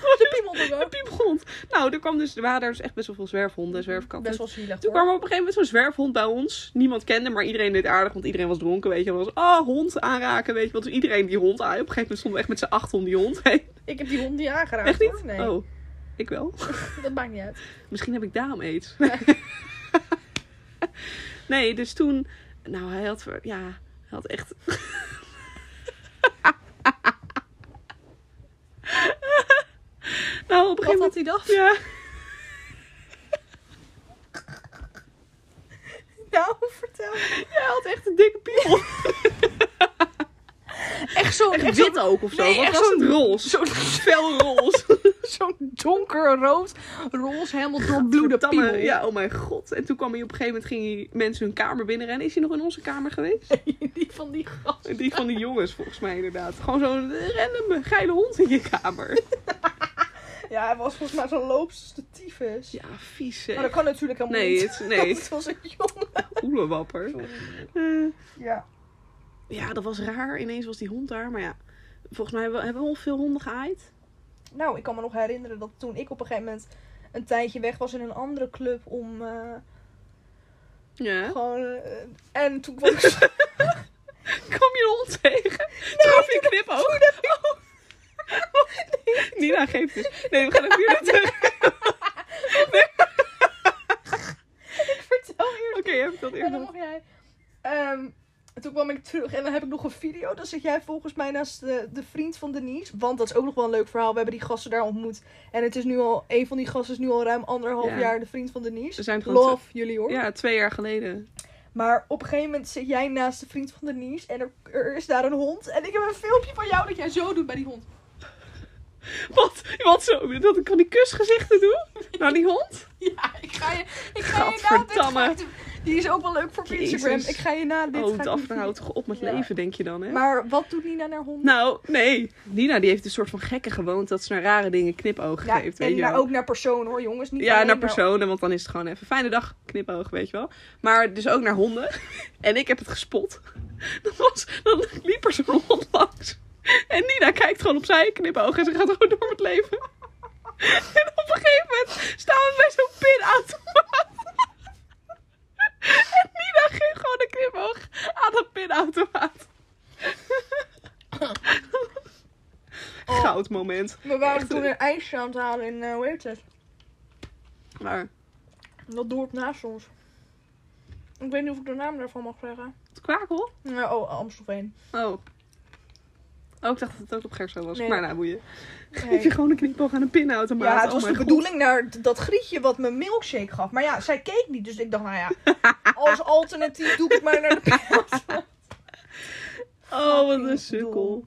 S1: de piemel er ook.
S2: Een piephond. Nou, er, kwam dus, er waren daar dus echt best wel veel zwerfhonden en zwerfkatten.
S1: Mhm, Best wel zielig
S2: Toen
S1: hoor.
S2: kwam er op een gegeven moment zo'n zwerfhond bij ons. Niemand kende, maar iedereen deed aardig, want iedereen was dronken, weet je. wel. was, ah, hond aanraken, weet je. Want iedereen die hond aan. Op een gegeven moment stonden we echt met z'n acht om die hond heen.
S1: Ik heb die hond niet aangeraakt.
S2: Echt niet?
S1: hoor. Nee,
S2: Oh, ik wel.
S1: dat maakt niet uit.
S2: Misschien heb ik daarom aids. nee, dus toen... Nou, hij had... ver- Ja, hij had echt... nou, op een gegeven moment...
S1: hij dat?
S2: Ja,
S1: Nou, vertel.
S2: hij had echt een dikke piemel.
S1: Echt zo'n
S2: Echt wit ook of zo.
S1: Nee,
S2: Wat
S1: echt
S2: was het?
S1: zo'n-
S2: Roze. Zo'n fel roze.
S1: zo'n donkerrood, roze, helemaal doorbloede
S2: Gadverdamme.
S1: piemel.
S2: Ja, oh mijn god. En toen kwam hij op een gegeven moment, ging hij mensen hun kamer binnenrennen. Is hij nog in onze kamer geweest?
S1: Die van die gast.
S2: Die van die jongens, volgens mij inderdaad. Gewoon zo'n random geile hond in je kamer.
S1: Ja, hij was volgens mij zo'n loopste tyfus.
S2: Ja, vies hè.
S1: Maar dat kan natuurlijk helemaal
S2: Nee,
S1: niet.
S2: het, nee,
S1: Het was een jongen.
S2: oelewapper. Eh,
S1: Ja.
S2: ja, dat was raar. Ineens was die hond daar. Maar ja, volgens mij hebben we, hebben we al veel honden geaaid.
S1: Nou, ik kan me nog herinneren dat toen ik op een gegeven moment een tijdje weg was in een andere club om eh,
S2: Ja.
S1: gewoon... eh, en toen kwam ik
S2: Kom je een hond tegen? Traf je knip ook? Oh. Nina geeft dus. Nee, we gaan even weer naar terug.
S1: vertel eerst.
S2: Oké, heb ik dat
S1: En
S2: eerder.
S1: dan mocht jij. Ehm, toen kwam ik terug en dan heb ik nog een video. Dan zit jij volgens mij naast de, de vriend van Denise. Want dat is ook nog wel een leuk verhaal. We hebben die gasten daar ontmoet. En het is nu al, een van die gasten is nu al ruim anderhalf
S2: Ja.
S1: jaar de vriend van
S2: Ze
S1: Denise.
S2: zijn gewoon
S1: Love jullie hoor.
S2: Ja, twee jaar geleden.
S1: Maar op een gegeven moment zit jij naast de vriend van Denise. En er, er is daar een hond. En ik heb een filmpje van jou dat jij zo doet bij die hond.
S2: Wat? Wat zo? Dat ik kan die kusgezichten doen? Naar die hond?
S1: Ja, ik ga je, ik ga je na dit
S2: Gadverdamme.
S1: ga ik doen. Die is ook wel leuk voor op
S2: Jezus.
S1: Instagram. Ik ga je na dit ga
S2: oh,
S1: ik
S2: Daphne
S1: doen.
S2: houdt toch op met
S1: Ja.
S2: leven, denk je dan, hè?
S1: Maar wat doet Nina naar honden?
S2: Nou, nee. Nina die heeft een soort van gekke gewoonte dat ze naar rare dingen knipoog
S1: Ja,
S2: geeft, weet
S1: en
S2: je
S1: naar,
S2: wel.
S1: ook naar persoon hoor, jongens. Niet
S2: ja,
S1: alleen
S2: naar personen, want dan is het gewoon even fijne dag, knipoog, weet je wel. Maar dus ook naar honden. En ik heb het gespot. Dan, was, dan liep er zo'n hond langs. En Nina kijkt gewoon opzij, knipoog, en ze gaat gewoon door met leven. En op een gegeven moment staan we bij zo'n pinautomaat. En Nina geeft gewoon een knipoog aan dat pinautomaat.
S1: Oh.
S2: Goud moment.
S1: We waren
S2: Echt,
S1: toen
S2: eh.
S1: een ijsje aan het halen in, eh hoe heet het?
S2: Maar
S1: Dat dorp naast ons. Ik weet niet of ik de naam daarvan mag zeggen.
S2: het kwakel?
S1: Nee, oh, Amstelveen.
S2: Oh. Oh, ik dacht dat het ook op Gerso was.
S1: Nee.
S2: Maar nou, boeien. Geef je
S1: Nee.
S2: gewoon een knipoog aan een pinautomaat.
S1: Ja, het
S2: Oh
S1: was de
S2: mijn god.
S1: bedoeling naar d- dat grietje wat me milkshake gaf. Maar ja, zij keek niet, dus ik dacht, nou ja, als alternatief doe ik het maar naar de pils.
S2: Oh, wat een
S1: Fucking
S2: sukkel.
S1: bedoel.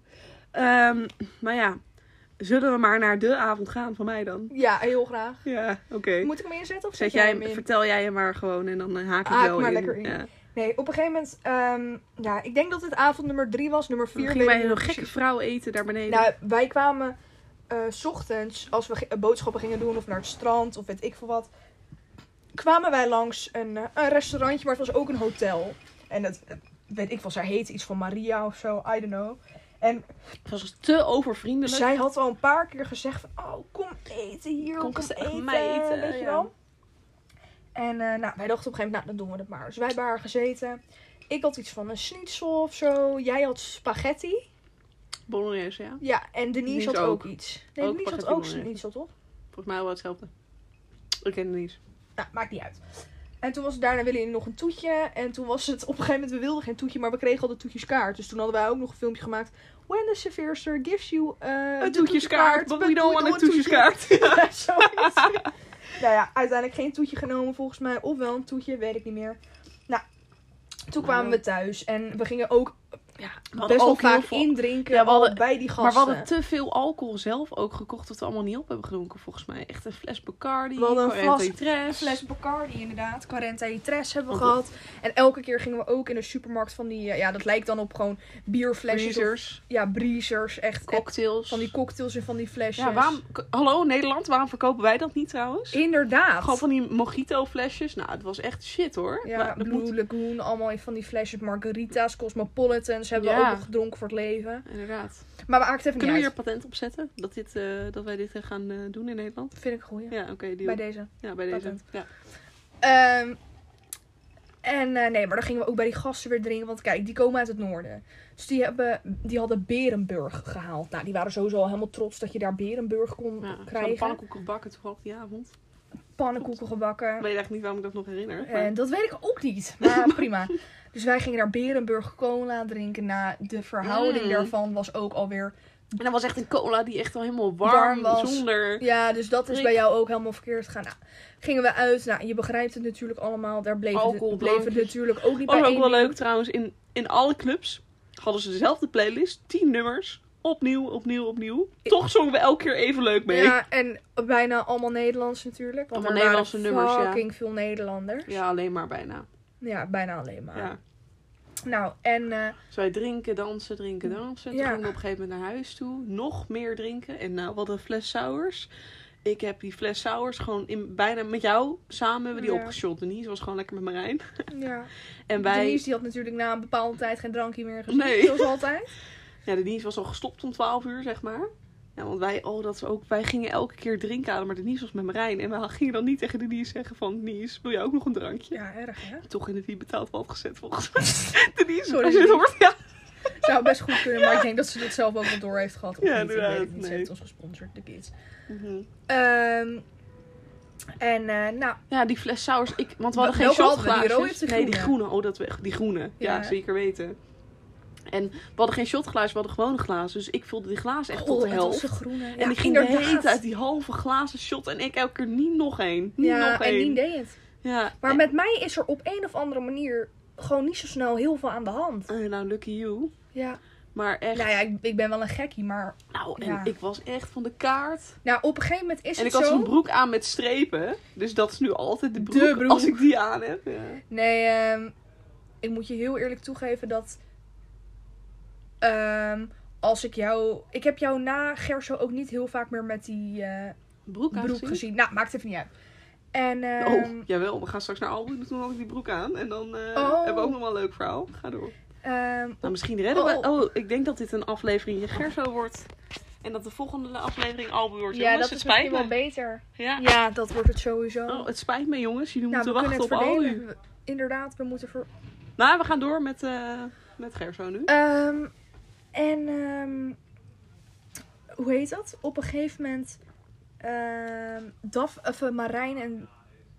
S2: Ehm, maar ja, zullen we maar naar de avond gaan van mij dan?
S1: Ja, heel graag.
S2: Ja, oké.
S1: Moet ik hem inzetten of
S2: Zet
S1: zet
S2: jij,
S1: hem in?
S2: vertel jij hem maar gewoon en dan eh, haak ik
S1: Haak
S2: wel
S1: maar
S2: in.
S1: lekker in.
S2: Ja.
S1: Nee, op een gegeven moment, ehm, ja, ik denk dat het avond nummer drie was, nummer
S2: Toen
S1: vier.
S2: gingen
S1: weet
S2: wij
S1: ik
S2: een
S1: niet
S2: gekke vrouw eten daar beneden.
S1: Nou, wij kwamen eh, 's ochtends, als we ge- eh, boodschappen gingen doen of naar het strand of weet ik veel wat, kwamen wij langs een, eh, een restaurantje, maar het was ook een hotel. En dat eh, weet ik wel, zij heette iets van Maria of zo, I don't know. En
S2: het was te overvriendelijk.
S1: zij had al een paar keer gezegd van, oh, kom eten hier,
S2: Kom
S1: kom,
S2: gezellig
S1: eten,
S2: mij eten,
S1: weet je
S2: ja.
S1: wel. En eh, nou, wij dachten op een gegeven moment, nou, dan doen we het maar. Dus wij hebben haar gezeten. Ik had iets van een schnitzel of zo. Jij had spaghetti.
S2: Bolognese, ja.
S1: Ja, en Denise
S2: Denise
S1: had ook,
S2: ook.
S1: iets. Nee,
S2: Ook
S1: Denise had
S2: spaghetti
S1: ook
S2: bolognese.
S1: schnitzel, toch?
S2: Volgens mij wel hetzelfde. Ik ken het niet.
S1: Nou, maakt niet uit. En toen was het daarna willen nog een toetje. En toen was het op een gegeven moment, we wilden geen toetje, maar we kregen al de toetjeskaart. Dus toen hadden wij ook nog een filmpje gemaakt. When the serveerster gives you eh,
S2: Een
S1: de
S2: toetjeskaart. Wat
S1: but
S2: moet je dan
S1: doe
S2: aan
S1: het
S2: een
S1: door toetje.
S2: toetjeskaart?
S1: Ja, zoiets. nou ja, uiteindelijk geen toetje genomen volgens mij. Of wel een toetje, weet ik niet meer. Nou, toen kwamen we thuis. En we gingen ook
S2: Ja,
S1: best wel
S2: ook heel
S1: vaak
S2: veel-
S1: indrinken
S2: Ja, we
S1: al
S2: hadden-
S1: bij die gasten.
S2: Maar we hadden te veel alcohol zelf ook gekocht, wat we allemaal niet op hebben gedronken, volgens mij. Echt een fles Bacardi,
S1: We hadden een
S2: Corentin
S1: fles-
S2: Tres.
S1: fles Bacardi inderdaad. Quarenta y Tres hebben we
S2: Oh,
S1: gehad. En elke keer gingen we ook in de supermarkt van die... eh, ja, dat lijkt dan op gewoon bierflesjes. Of,
S2: freezers,
S1: ja, breezers. Echt
S2: cocktails.
S1: van die cocktails en van die flesjes.
S2: ja, waarom, k- hallo Nederland, waarom verkopen wij dat niet trouwens?
S1: Inderdaad.
S2: Gewoon van die mojito flesjes. Nou, het was echt shit hoor.
S1: ja,
S2: Maar dat
S1: Blue
S2: moet-
S1: Lagoon, allemaal in van die flesjes. Margaritas, Cosmopolitans hebben we
S2: Ja.
S1: ook nog gedronken voor het leven.
S2: Inderdaad.
S1: Maar we maakt even niet
S2: Kunnen we hier
S1: uit.
S2: een patent op zetten? Dat, dit, eh, dat wij dit eh, gaan eh, doen in Nederland?
S1: Vind ik een goeie.
S2: Ja, oké, deal.
S1: Bij deze.
S2: ja, bij deze.
S1: patent.
S2: Ja.
S1: Ehm, en eh, nee, maar dan gingen we ook bij die gasten weer drinken. Want kijk, die komen uit het noorden. Dus die, hebben, die hadden Berenburg gehaald. Nou, die waren sowieso al helemaal trots dat je daar Berenburg kon
S2: Ja, ik zou de
S1: krijgen.
S2: pannenkoeken bakken toevallig die avond. Ik
S1: Pannenkoeken gebakken.
S2: weet eigenlijk niet waarom ik dat nog herinner. maar-
S1: En dat weet ik ook niet. Maar prima. Dus wij gingen daar Berenburg cola drinken. Na de verhouding
S2: Mm.
S1: daarvan was ook alweer.
S2: En dat was echt een cola die echt al helemaal
S1: Warm
S2: warm,
S1: was.
S2: zonder...
S1: Ja, dus dat is
S2: Riek.
S1: bij jou ook helemaal verkeerd gegaan. Nou, gingen we uit. Nou, je begrijpt het natuurlijk allemaal. Daar bleef,
S2: Alcohol,
S1: het, bleef het
S2: drankjes.
S1: natuurlijk ook niet
S2: Was
S1: bij
S2: ook
S1: één
S2: wel
S1: ding.
S2: leuk trouwens, in, in alle clubs hadden ze dezelfde playlist, 10 nummers, opnieuw, opnieuw, opnieuw. Toch zongen we elke keer even leuk mee. Ja,
S1: Ja, en bijna allemaal Nederlands natuurlijk. Want
S2: Allemaal
S1: er waren
S2: Nederlandse nummers, ja.
S1: fucking veel Nederlanders. Ja.
S2: alleen maar bijna.
S1: bijna alleen maar.
S2: Ja.
S1: Nou, en eh,
S2: Dus wij drinken, dansen, drinken, dansen. Toen
S1: Ja.
S2: gingen we op een gegeven moment naar huis toe, nog meer drinken. En nou, wat een fles sours. Ik heb die fles sours gewoon in, bijna met jou samen hebben we die
S1: Ja.
S2: opgeshot. Denise was gewoon lekker met Marijn.
S1: ja.
S2: En wij...
S1: Denise die had natuurlijk na een bepaalde tijd geen drankje meer gezien.
S2: Nee.
S1: Zoals altijd.
S2: Ja, de dienst was al gestopt om 12 uur, zeg maar. Ja, want wij, oh, dat is ook, wij gingen elke keer drinken halen, maar Denise was met Marijn. En we gingen dan niet tegen Denise zeggen van, Denise, wil jij ook nog een drankje?
S1: Ja, erg hè.
S2: Toch in de wie betaalt wat gezet, volgens mij. Denise,
S1: Sorry,
S2: als je het
S1: Denise.
S2: hoort, ja.
S1: Zou best goed kunnen, maar ik denk dat ze dat zelf ook wel door heeft gehad. Of
S2: Ja,
S1: niet, ik weet het
S2: inderdaad,
S1: niet. Ze
S2: nee.
S1: heeft ons gesponsord, de kids. Ehm, en eh, nou,
S2: Ja, die fles sours, ik, want we hadden geen
S1: Welke hadden we? Die
S2: shotglazen.
S1: rode of die
S2: nee, die
S1: groene?
S2: groene, oh, dat we, die groene. Ja,
S1: Ja.
S2: zeker weten. En we hadden geen shotglazen, we hadden gewone glazen. Dus ik vulde die glazen echt tot
S1: oh,
S2: de
S1: het was
S2: helft.
S1: de groene.
S2: En die ging de hele tijd die halve glazen shot en ik elke keer niet nog één. Niet
S1: Ja,
S2: nog
S1: en
S2: één.
S1: die deed het.
S2: ja,
S1: Maar met mij is er op een of andere manier gewoon niet zo snel heel veel aan de hand.
S2: Eh, nou, lucky you.
S1: Ja.
S2: Maar echt.
S1: Nou ja, ik, ik ben wel een gekkie, maar...
S2: Nou, en
S1: Ja.
S2: ik was echt van de kaart.
S1: Nou, op een gegeven moment is
S2: en ik
S1: het
S2: had
S1: zo...
S2: zo'n broek aan met strepen. Dus dat is nu altijd de broek,
S1: De broek.
S2: als ik die aan heb. Ja.
S1: Nee, ehm, ik moet je heel eerlijk toegeven dat... ehm, als ik jou... Ik heb jou na Gerso ook niet heel vaak meer met die eh,
S2: Broek aan
S1: broek
S2: gezien?
S1: gezien. Nou, maakt even niet uit. En... ehm,
S2: Oh, jawel. We gaan straks naar Albert. Toen had ik die broek aan. En dan eh,
S1: Oh.
S2: hebben we ook nog wel een leuk verhaal. Ga door.
S1: ehm,
S2: Nou, misschien redden
S1: Oh.
S2: we... Oh, ik denk dat dit een aflevering Gerso wordt. En dat de volgende aflevering Albert wordt.
S1: ja,
S2: jongens,
S1: dat
S2: het
S1: is
S2: spijt
S1: misschien
S2: me.
S1: wel beter.
S2: Ja.
S1: Ja, dat wordt het sowieso.
S2: Oh, het spijt me, jongens. Jullie
S1: nou, we
S2: moeten
S1: kunnen
S2: wachten
S1: het
S2: op Albu.
S1: verdelen. We- Inderdaad, we moeten ver,
S2: Maar we gaan door met, eh met Gerso nu.
S1: Ehm, en ehm, hoe heet dat? Op een gegeven moment. ehm Daf, of eh, Marijn en.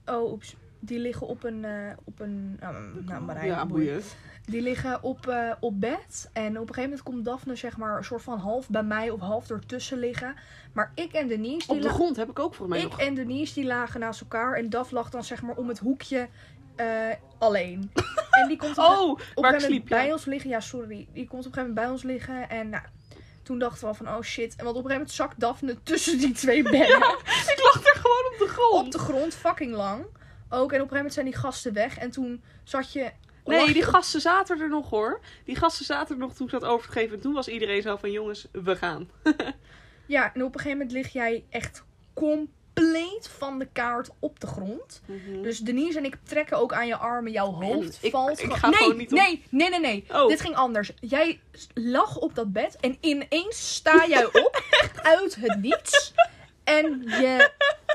S1: Oh, oeps. Die liggen op een. eh, op een nou, nou, Marijn.
S2: ja,
S1: boeien.
S2: boeien.
S1: Die liggen op, eh, op bed. En op een gegeven moment komt Daphne, zeg maar, een soort van half bij mij of half ertussen liggen. Maar ik en Denise. Die
S2: Op de
S1: la-
S2: grond heb ik ook voor mij
S1: ik
S2: nog.
S1: en Denise die lagen naast elkaar. En Daf lag dan, zeg maar, om het hoekje eh, alleen. en die komt op
S2: Oh,
S1: op een
S2: waar
S1: gegeven
S2: ik
S1: moment
S2: sliep. ja.
S1: bij ons liggen. Ja, sorry. Die komt op een gegeven moment bij ons liggen. En nou, toen dachten we al van, oh shit. En want op een gegeven moment zakt Daphne tussen die twee bedden.
S2: Ik lag er gewoon op de grond.
S1: op de grond, fucking lang. Ook, en op een gegeven moment zijn die gasten weg. En toen zat je... lag
S2: Nee,
S1: je
S2: die
S1: op-
S2: gasten zaten er nog hoor. Die gasten zaten er nog toen ik zat over te geven. En toen was iedereen zo van jongens, we gaan.
S1: Ja, en op een gegeven moment lig jij echt compleet van de kaart op de grond. Dus Denise en ik trekken ook aan je armen. Jouw hoofd
S2: Mhm. ik-
S1: valt...
S2: ik
S1: gewoon-
S2: ga
S1: nee,
S2: gewoon niet om.
S1: nee, nee, nee, nee.
S2: Oh.
S1: Dit ging anders. Jij s- lag op dat bed en ineens sta jij op uit het niets. En je,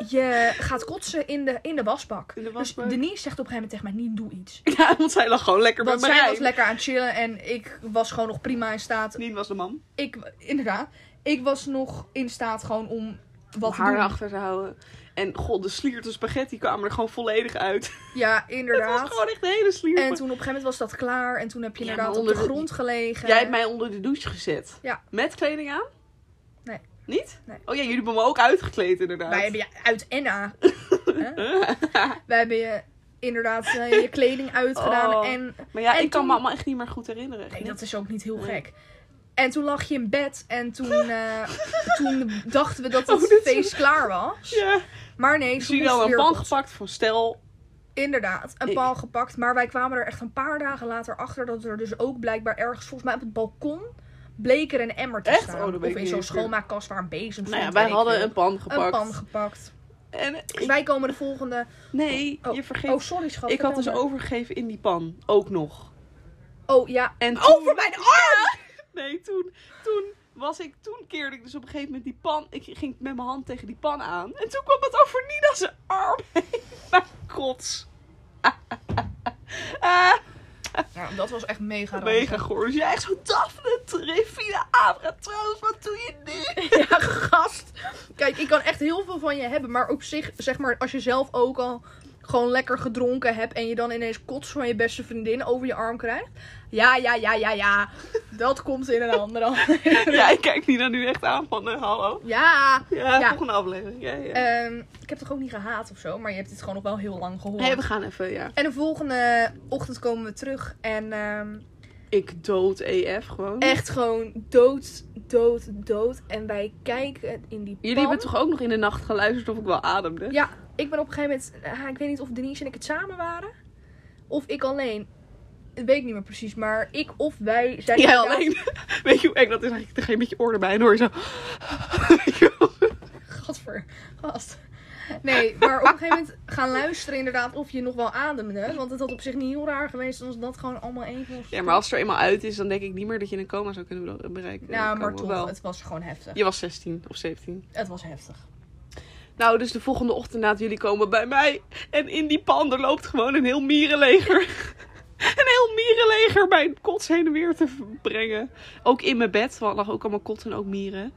S1: je gaat kotsen in de, in de wasbak.
S2: In de wasbak.
S1: Dus Denise zegt op een gegeven moment tegen mij, niet doe iets.
S2: Ja, want zij lag gewoon lekker bij
S1: Want zij
S2: Marijn.
S1: was lekker aan het chillen en ik was gewoon nog prima in staat.
S2: Nien was de man.
S1: Ik, inderdaad, ik was nog in staat gewoon om wat
S2: om
S1: te
S2: haar
S1: doen.
S2: achter te houden. En god, de sliert en spaghetti kwamen er gewoon volledig uit.
S1: Ja,
S2: Het was
S1: inderdaad.
S2: gewoon echt een hele sliert.
S1: En toen op een gegeven moment was dat klaar. En toen heb je
S2: Ja,
S1: inderdaad
S2: maar
S1: op de
S2: onder de-
S1: grond gelegen.
S2: Jij hebt mij onder de douche gezet.
S1: eh, Ja.
S2: Met kleding aan?
S1: Nee.
S2: Niet?
S1: Nee.
S2: Oh ja, jullie hebben me ook uitgekleed inderdaad.
S1: Wij hebben je uit en aan. Wij hebben je inderdaad eh, je kleding uitgedaan.
S2: Oh.
S1: En
S2: maar ja,
S1: En
S2: ik kan me
S1: toen-
S2: allemaal echt niet meer goed herinneren.
S1: nee,
S2: Echt
S1: dat is ook niet heel
S2: Nee.
S1: gek. En toen lag je in bed en toen, eh, toen dachten we dat
S2: Oh,
S1: het
S2: dit is-
S1: feest klaar was.
S2: niet. Ja.
S1: Maar nee,
S2: Ik
S1: toen
S2: zie
S1: moest
S2: dan een
S1: weer
S2: pan
S1: op-
S2: gepakt van stel.
S1: Inderdaad, een
S2: Ik-
S1: paal gepakt. Maar wij kwamen er echt een paar dagen later achter dat er dus ook blijkbaar ergens, volgens mij op het balkon, bleek er een emmer te
S2: Echt?
S1: staan.
S2: Oh, dat weet
S1: of
S2: ik
S1: in
S2: niet
S1: zo'n
S2: eens meer.
S1: schoonmaakkast waar een bezem stond.
S2: Nou ja,
S1: weet
S2: wij
S1: ik
S2: hadden
S1: veel.
S2: een pan gepakt.
S1: Een pan gepakt.
S2: En ik-
S1: Wij komen de volgende.
S2: nee,
S1: Oh,
S2: je vergeet.
S1: Oh, sorry schat.
S2: ik had dus
S1: vertel
S2: overgegeven in die pan. Ook nog.
S1: maar. Oh ja.
S2: En toen...
S1: Over mijn arm!
S2: Nee, toen, toen was ik, toen keerde ik dus op een gegeven moment die pan. Ik ging met mijn hand tegen die pan aan. En toen kwam het over Nina's arm heen. Mijn kots. Ah,
S1: Ja, dat was echt mega.
S2: mega
S1: ranzig.
S2: goor. Dus jij echt zo Daphne, Trevina, Abra, trouwens, wat doe je nu?
S1: Ja, gast. Kijk, ik kan echt heel veel van je hebben. Maar op zich, zeg maar, als je zelf ook al gewoon lekker gedronken hebt. en je dan ineens kots van je beste vriendin over je arm krijgt. Ja, ja, ja, ja, ja. Dat komt in een ander. al.
S2: Ja, ik kijk Nina nu echt aan van, eh, hallo.
S1: Ja.
S2: Ja, Eh,
S1: Ja.
S2: volgende aflevering. Ja, ja.
S1: Ehm, ik heb toch ook niet gehaat of zo. maar je hebt dit gewoon nog wel heel lang gehoord.
S2: hey, we gaan even, ja.
S1: En de volgende ochtend komen we terug. En ehm,
S2: Ik dood EF gewoon.
S1: echt gewoon dood, dood, dood. En wij kijken in die pan.
S2: Jullie hebben toch ook nog in de nacht geluisterd of ik wel ademde?
S1: Ja, ik ben op een gegeven moment... ah, ik weet niet of Denise en ik het samen waren. Of ik alleen. Dat weet ik niet meer precies. Maar ik of wij zijn...
S2: Jij
S1: inderdaad-
S2: alleen. Weet je hoe eng dat is? Eigenlijk er geen beetje oor erbij en hoor je zo. Weet je wel?
S1: Gadver. Gast. Nee, maar op een gegeven moment gaan luisteren inderdaad of je nog wel ademde. Want het had op zich niet heel raar geweest als dat gewoon allemaal één was.
S2: ja, maar als het er eenmaal uit is, dan denk ik niet meer dat je een coma zou kunnen be- bereiken.
S1: Nou,
S2: Kan
S1: maar
S2: wel.
S1: toch,
S2: Wel.
S1: het was gewoon heftig.
S2: Je was 16 of 17.
S1: Het was heftig.
S2: Nou, dus de volgende ochtend nadat jullie komen bij mij. En in die pan er loopt gewoon een heel mierenleger. een heel mierenleger mijn kots heen en weer te v- brengen. Ook in mijn bed, want lag ook allemaal kots en ook mieren.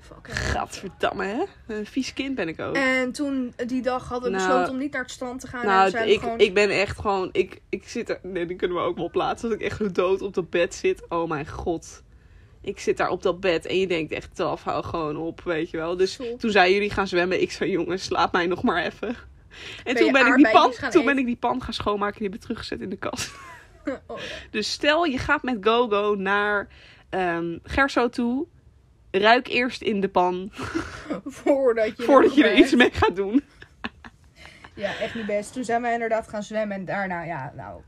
S1: Fuck.
S2: Gadverdamme, hè? Een vies kind ben ik ook.
S1: En toen, die dag, hadden we
S2: Nou,
S1: besloten om niet naar het strand te gaan. en
S2: Nou,
S1: zijn we
S2: ik,
S1: gewoon...
S2: ik ben echt gewoon. Ik, ik zit er. Nee, die kunnen we ook wel plaatsen. Dat ik echt zo dood op dat bed zit. Oh mijn god. Ik zit daar op dat bed en je denkt echt, taf, hou gewoon op, weet je wel. Dus
S1: Zo.
S2: toen zeiden jullie gaan zwemmen. Ik zei, jongens, slaap mij nog maar even. En
S1: je
S2: toen, ben ik, die pan,
S1: aardbeidjes gaan
S2: toen ben
S1: eten?
S2: ik die pan gaan schoonmaken en die heb ik teruggezet in de kast.
S1: Oh, ja.
S2: Dus stel, je gaat met GoGo naar ehm, Gerso toe. Ruik eerst in de pan
S1: Voordat je,
S2: voordat je er
S1: erbij-
S2: iets mee gaat doen.
S1: Ja, echt niet best. Toen zijn we inderdaad gaan zwemmen. En daarna, ja, nou,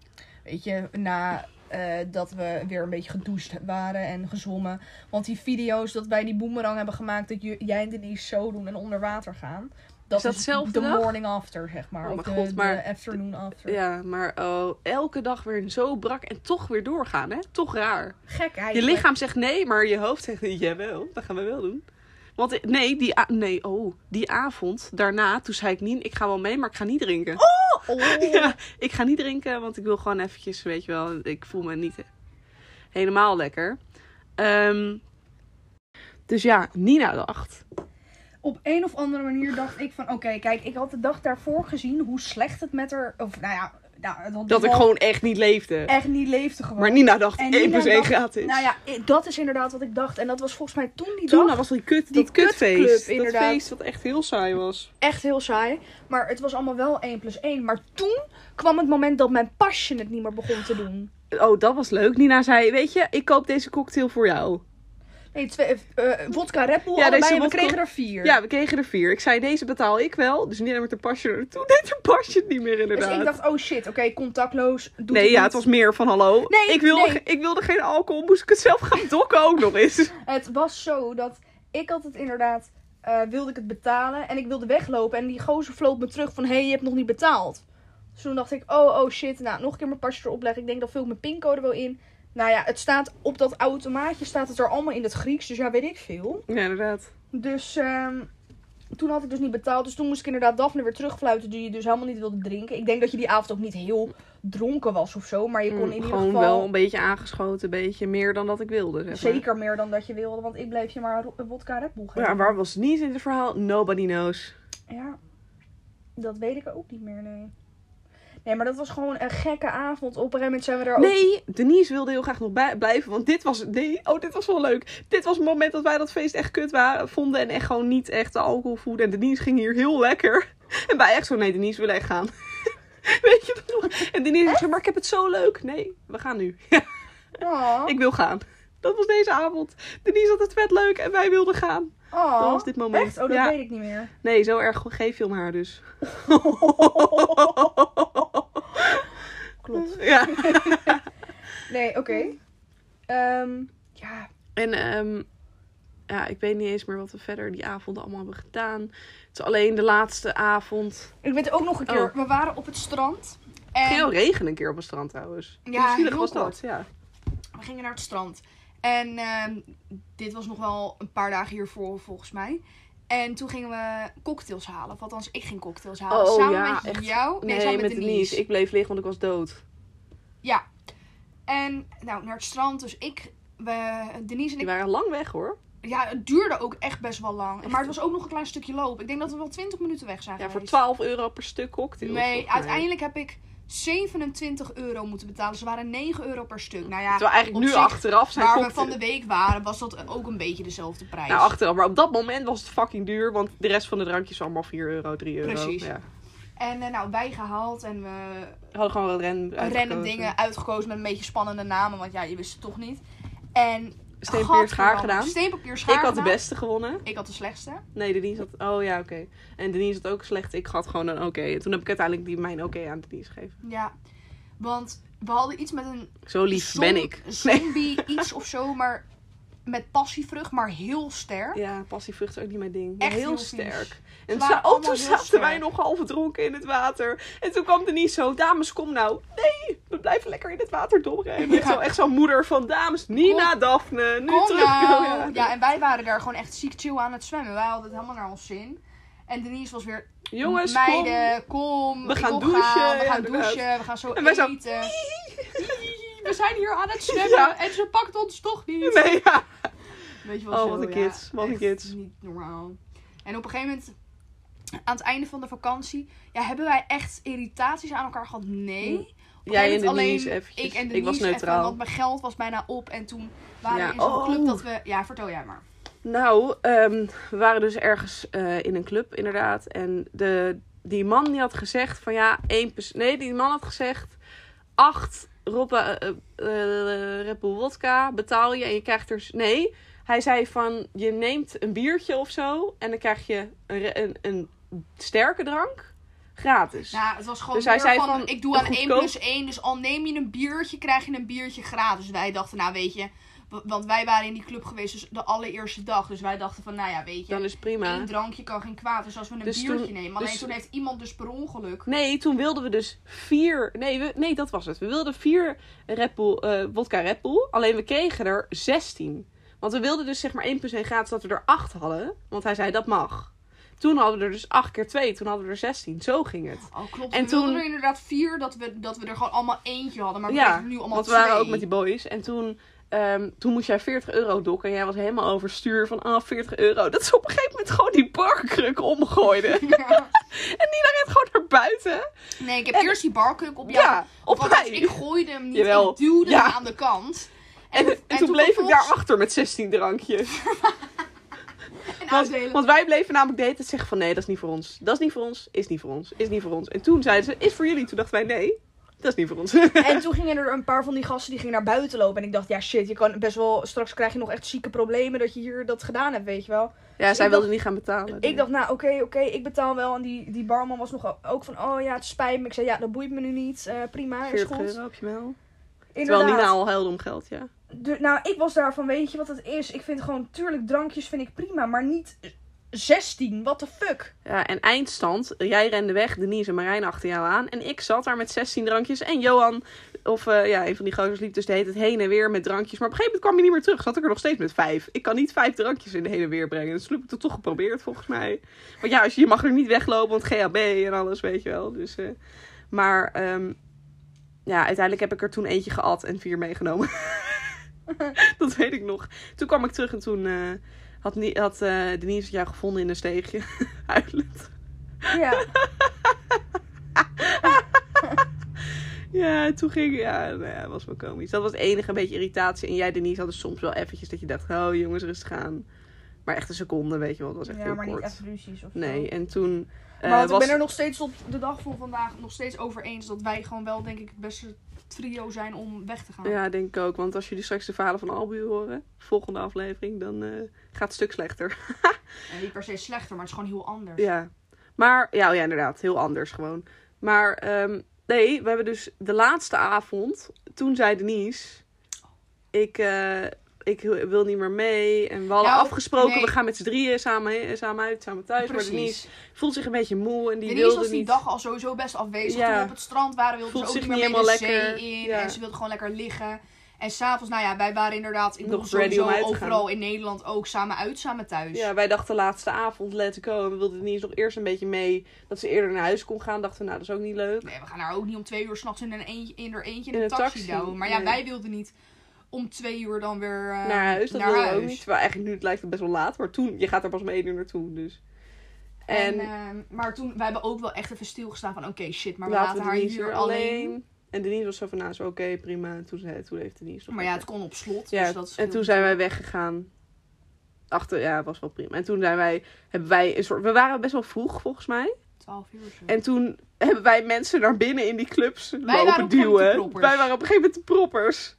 S1: weet je, na eh, dat we weer een beetje gedoucht waren en gezwommen. Want die video's dat wij die boemerang hebben gemaakt, dat je- jij en Denise zo doen en onder water gaan. Dat
S2: Is dat zelfde
S1: de
S2: dag?
S1: morning after, zeg maar.
S2: Oh
S1: of
S2: mijn
S1: de,
S2: god,
S1: de
S2: maar-
S1: afternoon after.
S2: Ja, maar oh, elke dag weer zo brak en toch weer doorgaan, hè? Toch raar.
S1: Gek eigenlijk.
S2: Je lichaam zegt nee, maar je hoofd zegt jawel, dat gaan we wel doen. Want nee, die, a- nee oh, die avond daarna, toen zei ik niet, ik ga wel mee, maar ik ga niet drinken.
S1: Oh,
S2: Ja, ik ga niet drinken, want ik wil gewoon eventjes, weet je wel, ik voel me niet helemaal lekker. Ehm, dus ja, Nina dacht,
S1: op een of andere manier dacht ik van... Oké, kijk, ik had de dag daarvoor gezien hoe slecht het met haar... Of nou ja, nou, het had
S2: dat
S1: dus
S2: ik
S1: wel
S2: gewoon echt niet leefde.
S1: echt niet leefde gewoon.
S2: Maar Nina dacht,
S1: En
S2: 1
S1: Nina
S2: plus 1
S1: dacht-
S2: gratis.
S1: Nou ja, i- dat is inderdaad wat ik dacht. En dat was volgens mij toen die
S2: Toen
S1: dag
S2: dat nou was die kut,
S1: Die
S2: dat kutfeest.
S1: kutclub,
S2: dat
S1: inderdaad.
S2: feest dat echt heel saai was.
S1: echt heel saai. Maar het was allemaal wel 1 plus 1. Maar toen kwam het moment dat mijn pasje het niet meer begon te doen.
S2: Oh, dat was leuk. Nina zei, weet je, ik koop deze cocktail voor jou.
S1: Nee, twee, eh, eh, vodka Red Bull
S2: Ja,
S1: allebei
S2: deze
S1: en we
S2: vodka-
S1: kregen er vier.
S2: Ja, we kregen er vier. Ik zei, deze betaal ik wel. Dus Nina met haar pasje naartoe. Deed haar pasje het niet meer
S1: dus
S2: inderdaad.
S1: ik dacht, oh shit, oké, contactloos. Doet
S2: nee, ja, het was meer van hallo.
S1: Nee,
S2: ik, wilde,
S1: nee.
S2: ik wilde geen alcohol, moest ik het zelf gaan dokken ook nog eens.
S1: Het was zo dat ik had het inderdaad, eh, wilde ik het betalen en ik wilde weglopen. En die gozer floot me terug van, hé, hey, je hebt nog niet betaald. Dus toen dacht ik, oh, oh shit, nou, nog een keer mijn pasje erop leggen. Ik denk, dan vul ik mijn pincode wel in. Nou ja, het staat op dat automaatje, staat het er allemaal in het Grieks, dus ja, weet ik veel.
S2: Ja, inderdaad.
S1: Dus ehm, toen had ik dus niet betaald. Dus toen moest ik inderdaad Daphne weer terugfluiten. Die je dus helemaal niet wilde drinken. Ik denk dat je die avond ook niet heel dronken was of zo. Maar je kon in ieder
S2: Mm, Gewoon
S1: geval...
S2: wel een beetje aangeschoten, een beetje meer dan dat ik wilde. Zeg maar.
S1: Zeker meer dan dat je wilde, want ik bleef je maar ro- wodka Red Bull geven.
S2: Ja, waar was niet in het verhaal? Nobody knows.
S1: Ja, dat weet ik ook niet meer, nee. Nee, maar dat was gewoon een gekke avond. Op een gegeven moment zijn we daar ook...
S2: Nee, Denise wilde heel graag nog bij- blijven, want dit was, nee, oh, dit was wel leuk. Dit was het moment dat wij dat feest echt kut waren, vonden en echt gewoon niet echt de alcohol voeden. En Denise ging hier heel lekker. En wij echt zo, nee, Denise wil echt gaan. Weet je dat nog? En Denise zei, maar ik heb het zo leuk. Nee, we gaan nu.
S1: Oh,
S2: Ik wil gaan. Dat was deze avond. Denise had het vet leuk en wij wilden gaan.
S1: oh.
S2: Dat was dit moment.
S1: Echt? Oh, dat
S2: Ja.
S1: weet ik niet meer.
S2: Nee, zo erg geef je om haar dus.
S1: Klopt.
S2: Ja.
S1: Nee, oké. Ehm, ja,
S2: En ehm, ja, ik weet niet eens meer wat we verder die avond allemaal hebben gedaan. Het is alleen de laatste avond.
S1: ik weet ook nog een keer.
S2: Oh.
S1: We waren op het strand.
S2: Het ging
S1: En
S2: heel regen een keer op het strand trouwens.
S1: Ja,
S2: Hoe zielig
S1: heel
S2: was dat?
S1: kort.
S2: Ja.
S1: we gingen naar het strand. En ehm, dit was nog wel een paar dagen hiervoor, volgens mij. En toen gingen we cocktails halen. Of althans, ik ging cocktails halen.
S2: Oh,
S1: samen
S2: ja,
S1: met
S2: echt.
S1: jou. Nee,
S2: Nee,
S1: samen
S2: met Denise. Ik bleef liggen, want ik was dood.
S1: Ja. En nou, naar het strand. Dus ik, we, Denise en
S2: Die
S1: ik.
S2: waren lang weg hoor.
S1: Ja, het duurde ook echt best wel lang. Maar het was ook nog een klein stukje lopen. Ik denk dat we wel 20 minuten weg zijn
S2: Ja, voor
S1: geweest.
S2: 12 euro per stuk cocktail.
S1: Nee, uiteindelijk heb ik 27 euro moeten betalen. Ze waren 9 euro per stuk. Nou ja,
S2: Terwijl eigenlijk
S1: op
S2: nu
S1: zich,
S2: achteraf zijn
S1: waar we
S2: cocktails-
S1: van de week waren, was dat ook een beetje dezelfde prijs.
S2: Nou, achteraf. Maar op dat moment was het fucking duur. Want de rest van de drankjes was allemaal 4 euro, 3 euro.
S1: Precies.
S2: Ja.
S1: en eh, nou, wij gehaald en we
S2: We hadden gewoon wat ren
S1: random
S2: uitgekozen.
S1: dingen uitgekozen met een beetje spannende namen. Want ja, je wist het toch niet. En
S2: Steen, papier, schaar
S1: gadverdamme,
S2: gedaan.
S1: Steen, papier, schaar
S2: Ik had de
S1: gedaan.
S2: beste gewonnen.
S1: Ik had de slechtste.
S2: Nee, Denise had... Oh ja, oké. En Denise had ook slecht. Ik had gewoon een oké. En toen heb ik uiteindelijk die, mijn oké aan Denise gegeven.
S1: Ja, want we hadden iets met een
S2: Zo lief
S1: zom-
S2: ben ik. Nee.
S1: zombie iets of zo, maar met passievrucht, maar heel sterk.
S2: Ja, passievrucht is ook niet mijn ding.
S1: Echt
S2: heel,
S1: heel vies.
S2: sterk.
S1: Ze
S2: En
S1: waren
S2: za- oh,
S1: allemaal
S2: toen
S1: heel
S2: zaten
S1: sterk.
S2: wij nog half dronken in het water. En toen kwam Denise zo... Dames, kom nou. Nee, we blijven lekker in het water dobberen. En
S1: Ja.
S2: echt zo- echt zo'n moeder van... Dames, Nina, Daphne. Nu
S1: Kom
S2: terug.
S1: nou! Ja, en wij waren daar gewoon echt ziek chill aan het zwemmen. Wij hadden het helemaal naar ons zin. En Denise was weer,
S2: Jongens, kom.
S1: meiden, kom,
S2: We
S1: ik
S2: gaan
S1: wil gaan,
S2: douchen.
S1: we
S2: Ja,
S1: gaan
S2: inderdaad.
S1: douchen, we gaan zo
S2: En wij zo-
S1: eten. We zijn hier aan het zwemmen
S2: Ja.
S1: en ze pakt ons toch niet.
S2: Nee, ja.
S1: Weet je
S2: Oh,
S1: wel zo,
S2: wat een
S1: ja.
S2: kids, wat een
S1: Echt
S2: kids.
S1: Niet normaal. En op een gegeven moment, aan het einde van de vakantie, ja, hebben wij echt irritaties aan elkaar gehad? Nee. Op een
S2: Hm. Jij
S1: gegeven
S2: en
S1: moment
S2: Denise
S1: alleen
S2: eventjes.
S1: Ik en
S2: Ik
S1: Denise
S2: was
S1: even,
S2: neutraal.
S1: want mijn geld was bijna op en toen waren
S2: Ja,
S1: we in zo'n
S2: oh.
S1: club dat we... Ja, vertel jij maar.
S2: Nou, ehm, we waren dus ergens eh, in een club, inderdaad. En de, die man die had gezegd van ja, één pers- Nee, die man had gezegd acht robba, eh eh, Red Bull wodka betaal je en je krijgt er... Nee, hij zei van je neemt een biertje of zo en dan krijg je een, re- een, een sterke drank gratis.
S1: Nou, het was gewoon
S2: Dus hij
S1: meer
S2: zei
S1: van,
S2: van,
S1: ik doe aan 1
S2: goedkoop.
S1: plus 1, dus al neem je een biertje, krijg je een biertje gratis. Wij dachten, nou weet je, wa- want wij waren in die club geweest dus de allereerste dag. Dus wij dachten van, nou ja, weet je,
S2: Dan is het prima.
S1: Eén drankje kan geen kwaad. Dus als we een
S2: Dus
S1: biertje
S2: toen-
S1: nemen. Alleen
S2: dus-
S1: toen heeft iemand dus per ongeluk.
S2: Nee, toen wilden we dus vier. Nee, we, nee dat was het. We wilden vier Red Bull, eh, vodka Red Bull. Alleen we kregen er 16. Want we wilden dus zeg maar 1 plus 1 gratis dat we er 8 hadden. Want hij zei dat mag. Toen hadden we er dus 8 keer 2. Toen hadden we er 16. Zo ging het.
S1: Oh, klopt.
S2: En
S1: we wilden
S2: toen-
S1: er inderdaad vier dat we, dat we er gewoon allemaal eentje hadden. Maar we
S2: ja,
S1: kregen nu allemaal
S2: want we
S1: twee.
S2: waren ook met die boys. En toen, ehm, toen moest jij 40 euro dokken. En jij was helemaal overstuur van ah, 40 euro. Dat ze op een gegeven moment gewoon die barkruk omgooiden. en
S1: Ja.
S2: Nina rent gewoon naar buiten.
S1: Nee, ik heb
S2: En-
S1: eerst die barkuk op
S2: Ja,
S1: jou.
S2: op
S1: Want
S2: mij.
S1: Ik gooide hem niet.
S2: Jawel.
S1: Ik duwde
S2: Ja.
S1: hem aan de kant.
S2: En, en, toen bleef ik
S1: vervolgens-
S2: daarachter met 16 drankjes.
S1: En
S2: Want,
S1: uitdelen.
S2: want wij bleven namelijk de hele tijd zeggen van nee, dat is niet voor ons. Dat is niet voor ons, is niet voor ons, is niet voor ons. En toen zeiden ze, is voor jullie. Toen dachten wij nee, dat is niet voor ons.
S1: En toen gingen er een paar van die gasten die gingen naar buiten lopen. En ik dacht, ja shit, je kan best wel. Straks krijg je nog echt zieke problemen dat je hier dat gedaan hebt, weet je wel.
S2: ja,
S1: ik
S2: zij
S1: dacht-
S2: wilden niet gaan betalen. dus
S1: Ik dacht, nou oké, oké, ik betaal wel. En die, die barman was nog ook van, oh ja, het spijt me. Ik zei, ja, dat boeit me nu niet. Eh, prima, is
S2: 40
S1: goed.
S2: euro op je wel. Terwijl
S1: Inderdaad.
S2: Nina al huilde om geld, ja.
S1: Du- nou, ik was daarvan, weet je wat het is? Ik vind gewoon, tuurlijk, drankjes vind ik prima, maar niet 16, what the fuck?
S2: Ja, en eindstand, jij rende weg, Denise en Marijn achter jou aan. En ik zat daar met 16 drankjes. En Johan, of eh, ja, een van die gozers liep dus de hele tijd heen en weer met drankjes. Maar op een gegeven moment kwam je niet meer terug. Zat ik er nog steeds met vijf. Ik kan niet vijf drankjes in de heen en weer brengen. Dus toen heb ik dat toch geprobeerd, volgens mij. Want ja, als je, je mag er niet weglopen, want GHB en alles, weet je wel. Dus, eh, maar ehm, ja, uiteindelijk heb ik er toen eentje geat en vier meegenomen. dat weet ik nog. Toen kwam ik terug en toen... eh, had, Nie- had eh, Denise jou gevonden in een steegje. Huilend.
S1: Ja.
S2: Ja, toen ging... Ja, nou ja, was wel komisch. Dat was het enige een beetje irritatie. En jij, Denise, hadden soms wel eventjes dat je dacht... Oh, jongens, rustig aan. Maar echt een seconde, weet je wel. Dat was echt
S1: ja,
S2: heel
S1: maar
S2: kort.
S1: niet echt ruzies of zo.
S2: nee, en toen... eh,
S1: maar want
S2: was...
S1: ik ben er nog steeds op de dag van vandaag nog steeds over eens dat wij gewoon wel, denk ik, het beste trio zijn om weg te gaan.
S2: Ja, denk ik ook. Want als jullie straks de verhalen van Albu horen... Volgende aflevering, dan eh, gaat het stuk slechter.
S1: En Eh, niet per se slechter, maar het is gewoon heel anders.
S2: Ja. Maar, ja, oh ja, inderdaad. Heel anders gewoon. Maar, ehm, nee, we hebben dus de laatste avond. Toen zei Denise, ik, eh, ik wil niet meer mee. En we hadden
S1: Nou,
S2: afgesproken,
S1: nee.
S2: we gaan met z'n drieën samen, samen uit, samen thuis. Maar Denise
S1: Precies.
S2: voelt zich een beetje moe en die
S1: Denise
S2: wilde
S1: was die
S2: niet.
S1: dag al sowieso best afwezig.
S2: Ja.
S1: Toen we op het strand waren, wilde
S2: Voelt
S1: ze ook
S2: zich
S1: niet meer
S2: niet
S1: mee de
S2: helemaal lekker.
S1: zee in.
S2: Ja.
S1: En ze wilde gewoon lekker liggen. En s'avonds, nou ja, wij waren inderdaad, ik
S2: Nog
S1: bedoel,
S2: ready om
S1: sowieso
S2: uit te gaan.
S1: overal in Nederland ook samen uit, samen thuis.
S2: Ja, wij dachten laatste avond, let's go. En we wilden Denise nog eerst een beetje mee, dat ze eerder naar huis kon gaan. Dachten we, nou, dat is ook niet leuk.
S1: Nee, we gaan haar ook niet om twee uur s'nachts in, een eentje- in er eentje in,
S2: In
S1: een
S2: een
S1: taxi,
S2: taxi,
S1: douwen. Maar ja,
S2: nee.
S1: wij wilden niet om twee uur dan weer eh,
S2: naar huis, dat
S1: naar
S2: wilden we
S1: huis.
S2: ook niet. Terwijl eigenlijk nu het lijkt het best wel laat. Maar toen, je gaat er pas om één uur naartoe, dus.
S1: En, ehm, maar toen, wij hebben ook wel echt even stilgestaan van, oké, shit, maar we laten, haar
S2: Denise
S1: hier alleen.
S2: En Denise was zo van, nou, is wel oké, prima. En toen, zei, toen heeft Denise nog
S1: Maar ja, het
S2: even-
S1: kon op slot,
S2: Ja,
S1: dus dat
S2: en
S1: scheelde
S2: toen zijn wij weggegaan. Achter, ja, was wel prima. En toen zijn wij, hebben wij een soort, we waren best wel vroeg volgens
S1: Mm.
S2: mij.
S1: Twaalf uur of zo.
S2: En toen hebben wij mensen naar binnen in die clubs
S1: waren op
S2: lopen
S1: een gegeven moment de
S2: duwen.
S1: proppers.
S2: Wij waren op een gegeven moment de proppers.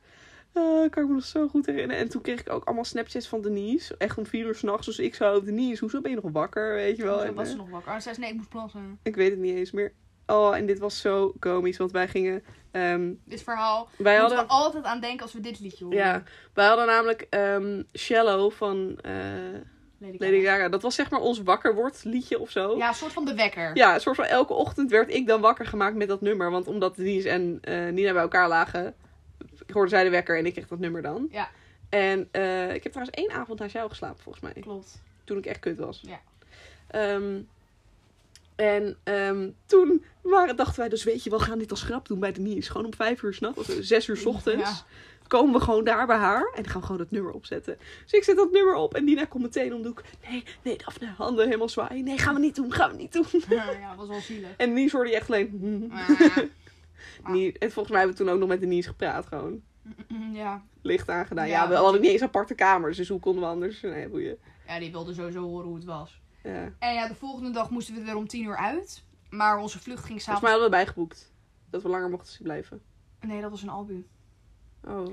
S2: Eh, kan ik me nog zo goed herinneren. En toen kreeg ik ook allemaal Snapchats van Denise. Echt om vier uur s'nachts. Dus ik zo, Denise, hoezo ben je nog wakker? Weet je wel.
S1: Hoezo
S2: En,
S1: was
S2: eh,
S1: ze nog wakker. Oh, ze zei, nee, ik moest plassen.
S2: ik weet het niet eens meer. Oh, en dit was zo komisch. Want wij gingen... ehm,
S1: Dit verhaal
S2: wij
S1: moeten
S2: hadden...
S1: we altijd aan denken als we dit liedje horen.
S2: Ja, wij hadden namelijk ehm, Shallow van eh,
S1: Lady Gaga.
S2: Lady Gaga. Dat was zeg maar ons wakker wordt liedje of zo.
S1: Ja, een soort van de wekker.
S2: Ja, een soort van elke ochtend werd ik dan wakker gemaakt met dat nummer. Want omdat Denise en eh, Nina bij elkaar lagen, hoorde zij de wekker en ik kreeg dat nummer dan.
S1: Ja.
S2: En eh, ik heb trouwens één avond naast jou geslapen, volgens mij.
S1: Klopt.
S2: Toen ik echt kut was.
S1: Ja.
S2: Ehm, en ehm, toen waren, dachten wij dus, weet je, we gaan dit als grap doen bij Denise. Gewoon om vijf uur s'nachts, of eh, zes uur s ochtends.
S1: Ja.
S2: Komen we gewoon daar bij haar en dan gaan we gewoon dat nummer opzetten. Dus ik zet dat nummer op en Nina komt meteen om de hoek. Nee, nee, Daphne, handen helemaal zwaaien. Nee, gaan we niet doen, gaan we niet doen.
S1: Ja, ja, was wel zielig.
S2: En Denise hoorde je echt alleen... "Hmm."
S1: Maar,
S2: Nie- En volgens mij hebben we toen ook nog met Denise gepraat gewoon.
S1: ja.
S2: Licht aangedaan. Ja,
S1: Ja,
S2: we hadden niet eens aparte kamers, dus hoe konden we anders? Nee, boeien.
S1: ja, die wilde sowieso horen hoe het was.
S2: Ja.
S1: En ja, de volgende dag moesten we er om tien uur uit. Maar onze vlucht ging
S2: Volgens mij
S1: s'avonds...
S2: hadden we bijgeboekt. Dat we langer mochten blijven.
S1: Nee, dat was een album.
S2: Oh.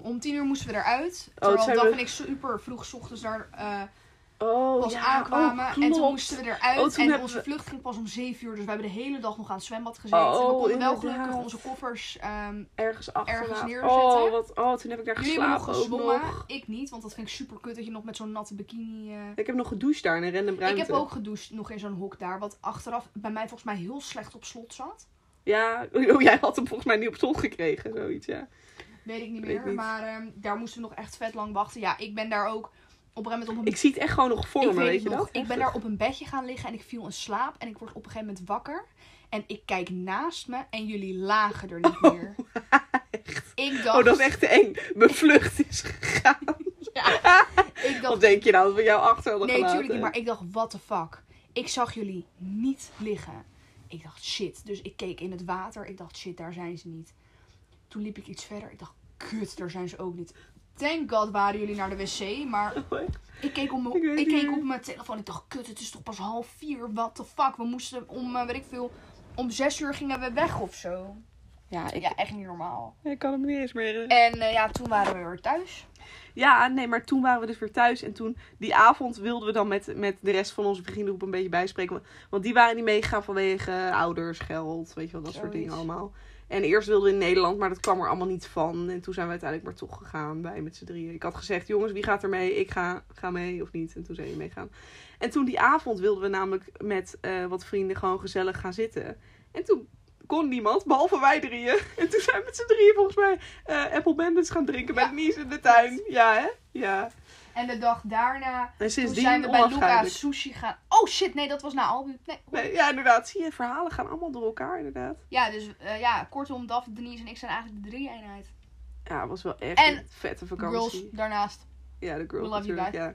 S1: Om tien uur moesten we eruit.
S2: toen
S1: Terwijl
S2: Oh, zijn
S1: Daf
S2: we-
S1: en ik super vroeg 's ochtends daar eh,
S2: Oh,
S1: pas
S2: ja,
S1: aankwamen.
S2: oh,
S1: en toen
S2: klopt.
S1: moesten we eruit.
S2: Oh, toen
S1: en
S2: hebben
S1: onze
S2: we-
S1: vlucht ging pas om zeven uur. Dus we hebben de hele dag nog aan het zwembad gezeten. en we
S2: Oh,
S1: konden wel
S2: inderdaad.
S1: gelukkig onze koffers... ehm,
S2: ergens achter.
S1: ergens
S2: laten.
S1: neerzetten.
S2: Oh, wat, oh, toen heb ik daar
S1: jullie hebben nog
S2: geslapen ook
S1: gezwommen.
S2: nog.
S1: Ik niet, want dat vind ik super kut dat je nog met zo'n natte bikini... eh,
S2: Ik heb nog gedoucht daar in een random ruimte.
S1: Ik heb ook gedoucht nog in zo'n hok daar. Wat achteraf bij mij volgens mij heel slecht op slot zat.
S2: Ja, oh, jij had hem volgens mij niet op zon gekregen, zoiets, ja.
S1: Weet ik niet
S2: Weet
S1: meer.
S2: ik niet.
S1: Maar ehm, daar moesten we nog echt vet lang wachten. Ja, ik ben daar ook op een gegeven moment op een
S2: Ik zie het echt gewoon nog voor me,
S1: ik
S2: weet,
S1: weet
S2: je
S1: het nog.
S2: dat?
S1: Ik ben daar op een bedje gaan liggen en ik viel in slaap. En ik word op een gegeven moment wakker. En ik kijk naast me en jullie lagen er niet meer. Ik dacht...
S2: Oh, dat is Oh, echt te eng. Mijn vlucht is gegaan.
S1: Ja, ik
S2: Wat
S1: dacht...
S2: denk je nou dat we jou achter hadden
S1: Nee,
S2: gelaten?
S1: natuurlijk niet. Maar ik dacht, what the fuck. Ik zag jullie niet liggen. Ik dacht, shit. Dus ik keek in het water. Ik dacht, shit, daar zijn ze niet. Toen liep ik iets verder. Ik dacht, kut, daar zijn ze ook niet. Thank god waren jullie naar de wc. Maar Ik keek, om,
S2: Ik weet
S1: ik
S2: niet
S1: keek
S2: meer.
S1: op mijn telefoon. Ik dacht, kut, het is toch pas half vier. What the fuck? We moesten om, eh, weet ik veel, om zes uur gingen we weg of zo.
S2: Ja, ik,
S1: Ja, echt niet normaal.
S2: ik kan hem niet eens meer herinneren.
S1: En eh, ja, toen waren we weer thuis.
S2: Ja, nee, maar toen waren we dus weer thuis. En toen, die avond wilden we dan met, met de rest van onze vriendengroep een beetje bijspreken. Want die waren niet meegegaan vanwege eh, ouders, geld, weet je wel, dat soort
S1: Zoiets.
S2: dingen allemaal. En eerst wilden we in Nederland, maar dat kwam er allemaal niet van. En toen zijn we uiteindelijk maar toch gegaan, wij met z'n drieën. Ik had gezegd, jongens, wie gaat er mee? Ik ga, ga mee of niet? En toen zijn je meegaan. En toen die avond wilden we namelijk met eh, wat vrienden gewoon gezellig gaan zitten. En toen kon niemand, behalve wij drieën. En toen zijn we met z'n drieën volgens mij eh, Apple Bandits gaan drinken bij
S1: Ja.
S2: Nies in de tuin. Ja, hè? Ja.
S1: En de dag daarna,
S2: En
S1: toen
S2: sindsdien
S1: zijn we bij Luca
S2: onafscheidelijk.
S1: sushi gaan. Oh shit, nee, dat was na Albu. Nee.
S2: Nee, ja, inderdaad. Zie je, verhalen gaan allemaal door elkaar, inderdaad.
S1: Ja, dus eh, ja, kortom, Daf, Denise en ik zijn eigenlijk de drie-eenheid.
S2: Ja, het was wel echt
S1: En
S2: een vette vakantie.
S1: Girls daarnaast.
S2: Ja, de girls
S1: We love you
S2: natuurlijk, ja.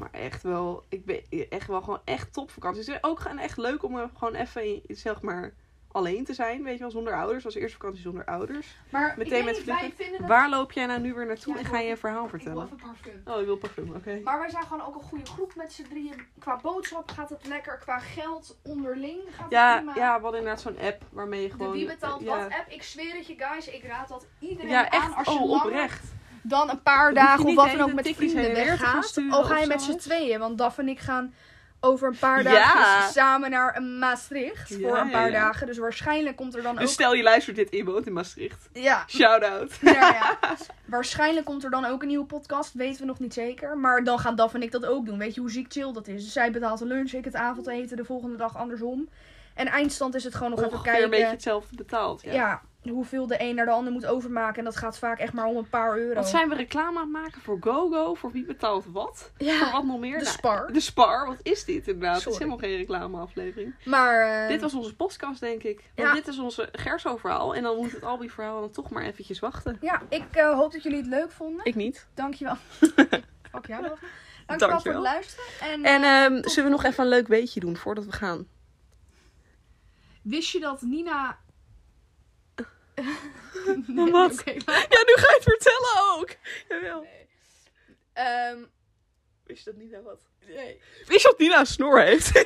S2: Maar echt wel, ik ben echt wel gewoon echt topvakantie. Het is ook gewoon echt leuk om eh, gewoon even, zeg maar, alleen te zijn, weet je wel, zonder ouders. Was eerste vakantie zonder ouders.
S1: Maar
S2: Meteen
S1: ik
S2: met
S1: weet niet, wij vinden dat...
S2: Waar loop jij nou nu weer naartoe
S1: Ja,
S2: en
S1: ik
S2: ga
S1: wil-
S2: je een verhaal
S1: Ik wil
S2: vertellen?
S1: even parfum.
S2: Oh, je wil parfum, oké.
S1: Maar wij zijn gewoon ook een goede groep met z'n drieën. Qua boodschap gaat het lekker. Qua geld onderling gaat het
S2: Ja,
S1: prima.
S2: ja, we hadden inderdaad zo'n app waarmee je
S1: De
S2: gewoon...
S1: wie betaalt
S2: ja.
S1: wat app. Ik zweer het je guys, ik raad dat iedereen
S2: Ja,
S1: aan als
S2: echt.
S1: je
S2: Oh,
S1: langer
S2: oprecht.
S1: dan een paar
S2: Hoef je
S1: dagen of
S2: niet
S1: wat
S2: de
S1: dan ook
S2: hele
S1: met
S2: tikkies
S1: vrienden
S2: heen en weer te gaan
S1: weggaat.
S2: sturen
S1: Oh, ga
S2: of
S1: je
S2: zo,
S1: met
S2: hè?
S1: z'n tweeën. Want Daf en ik gaan over een paar
S2: Ja.
S1: dagen samen naar Maastricht.
S2: Ja,
S1: voor een paar
S2: ja.
S1: dagen. Dus waarschijnlijk komt er dan
S2: Dus
S1: ook...
S2: stel je luistert dit en je woont in Maastricht.
S1: Ja,
S2: Shout-out.
S1: nou ja. Waarschijnlijk komt er dan ook een nieuwe podcast, weten we nog niet zeker. Maar dan gaan Daf en ik dat ook doen. Weet je hoe ziek chill dat is? Dus zij betaalt de lunch, ik het avondeten, de volgende dag andersom. En eindstand is het gewoon nog even
S2: Ongeveer
S1: kijken.
S2: een beetje hetzelfde betaald, ja.
S1: ja. hoeveel de een naar de ander moet overmaken. En dat gaat vaak echt maar om een paar euro.
S2: Wat zijn we reclame aan het maken voor GoGo? Voor wie betaalt wat? Voor
S1: Ja,
S2: wat nog meer?
S1: de
S2: Nou,
S1: spar.
S2: De Spar, wat is dit inderdaad? Het is
S1: Sorry.
S2: helemaal geen reclameaflevering.
S1: Maar eh,
S2: dit was onze podcast, denk ik. Want
S1: ja.
S2: dit is onze Gerso-verhaal. En dan moet het Albi-verhaal dan toch maar eventjes wachten.
S1: ja, ik eh, hoop dat jullie het leuk vonden.
S2: Ik niet.
S1: Dankjewel. Ook jou, Daf. Dankjewel, voor
S2: Dankjewel.
S1: het luisteren. En,
S2: En ehm, zullen we nog even een leuk weetje doen voordat we gaan?
S1: wist je dat Nina...
S2: Wat?
S1: oké,
S2: Ja, nu ga je het vertellen ook! Jawel.
S1: Nee. Ehm,
S2: Wist je dat Nina wat?
S1: nee.
S2: Wist je dat Nina een snor heeft?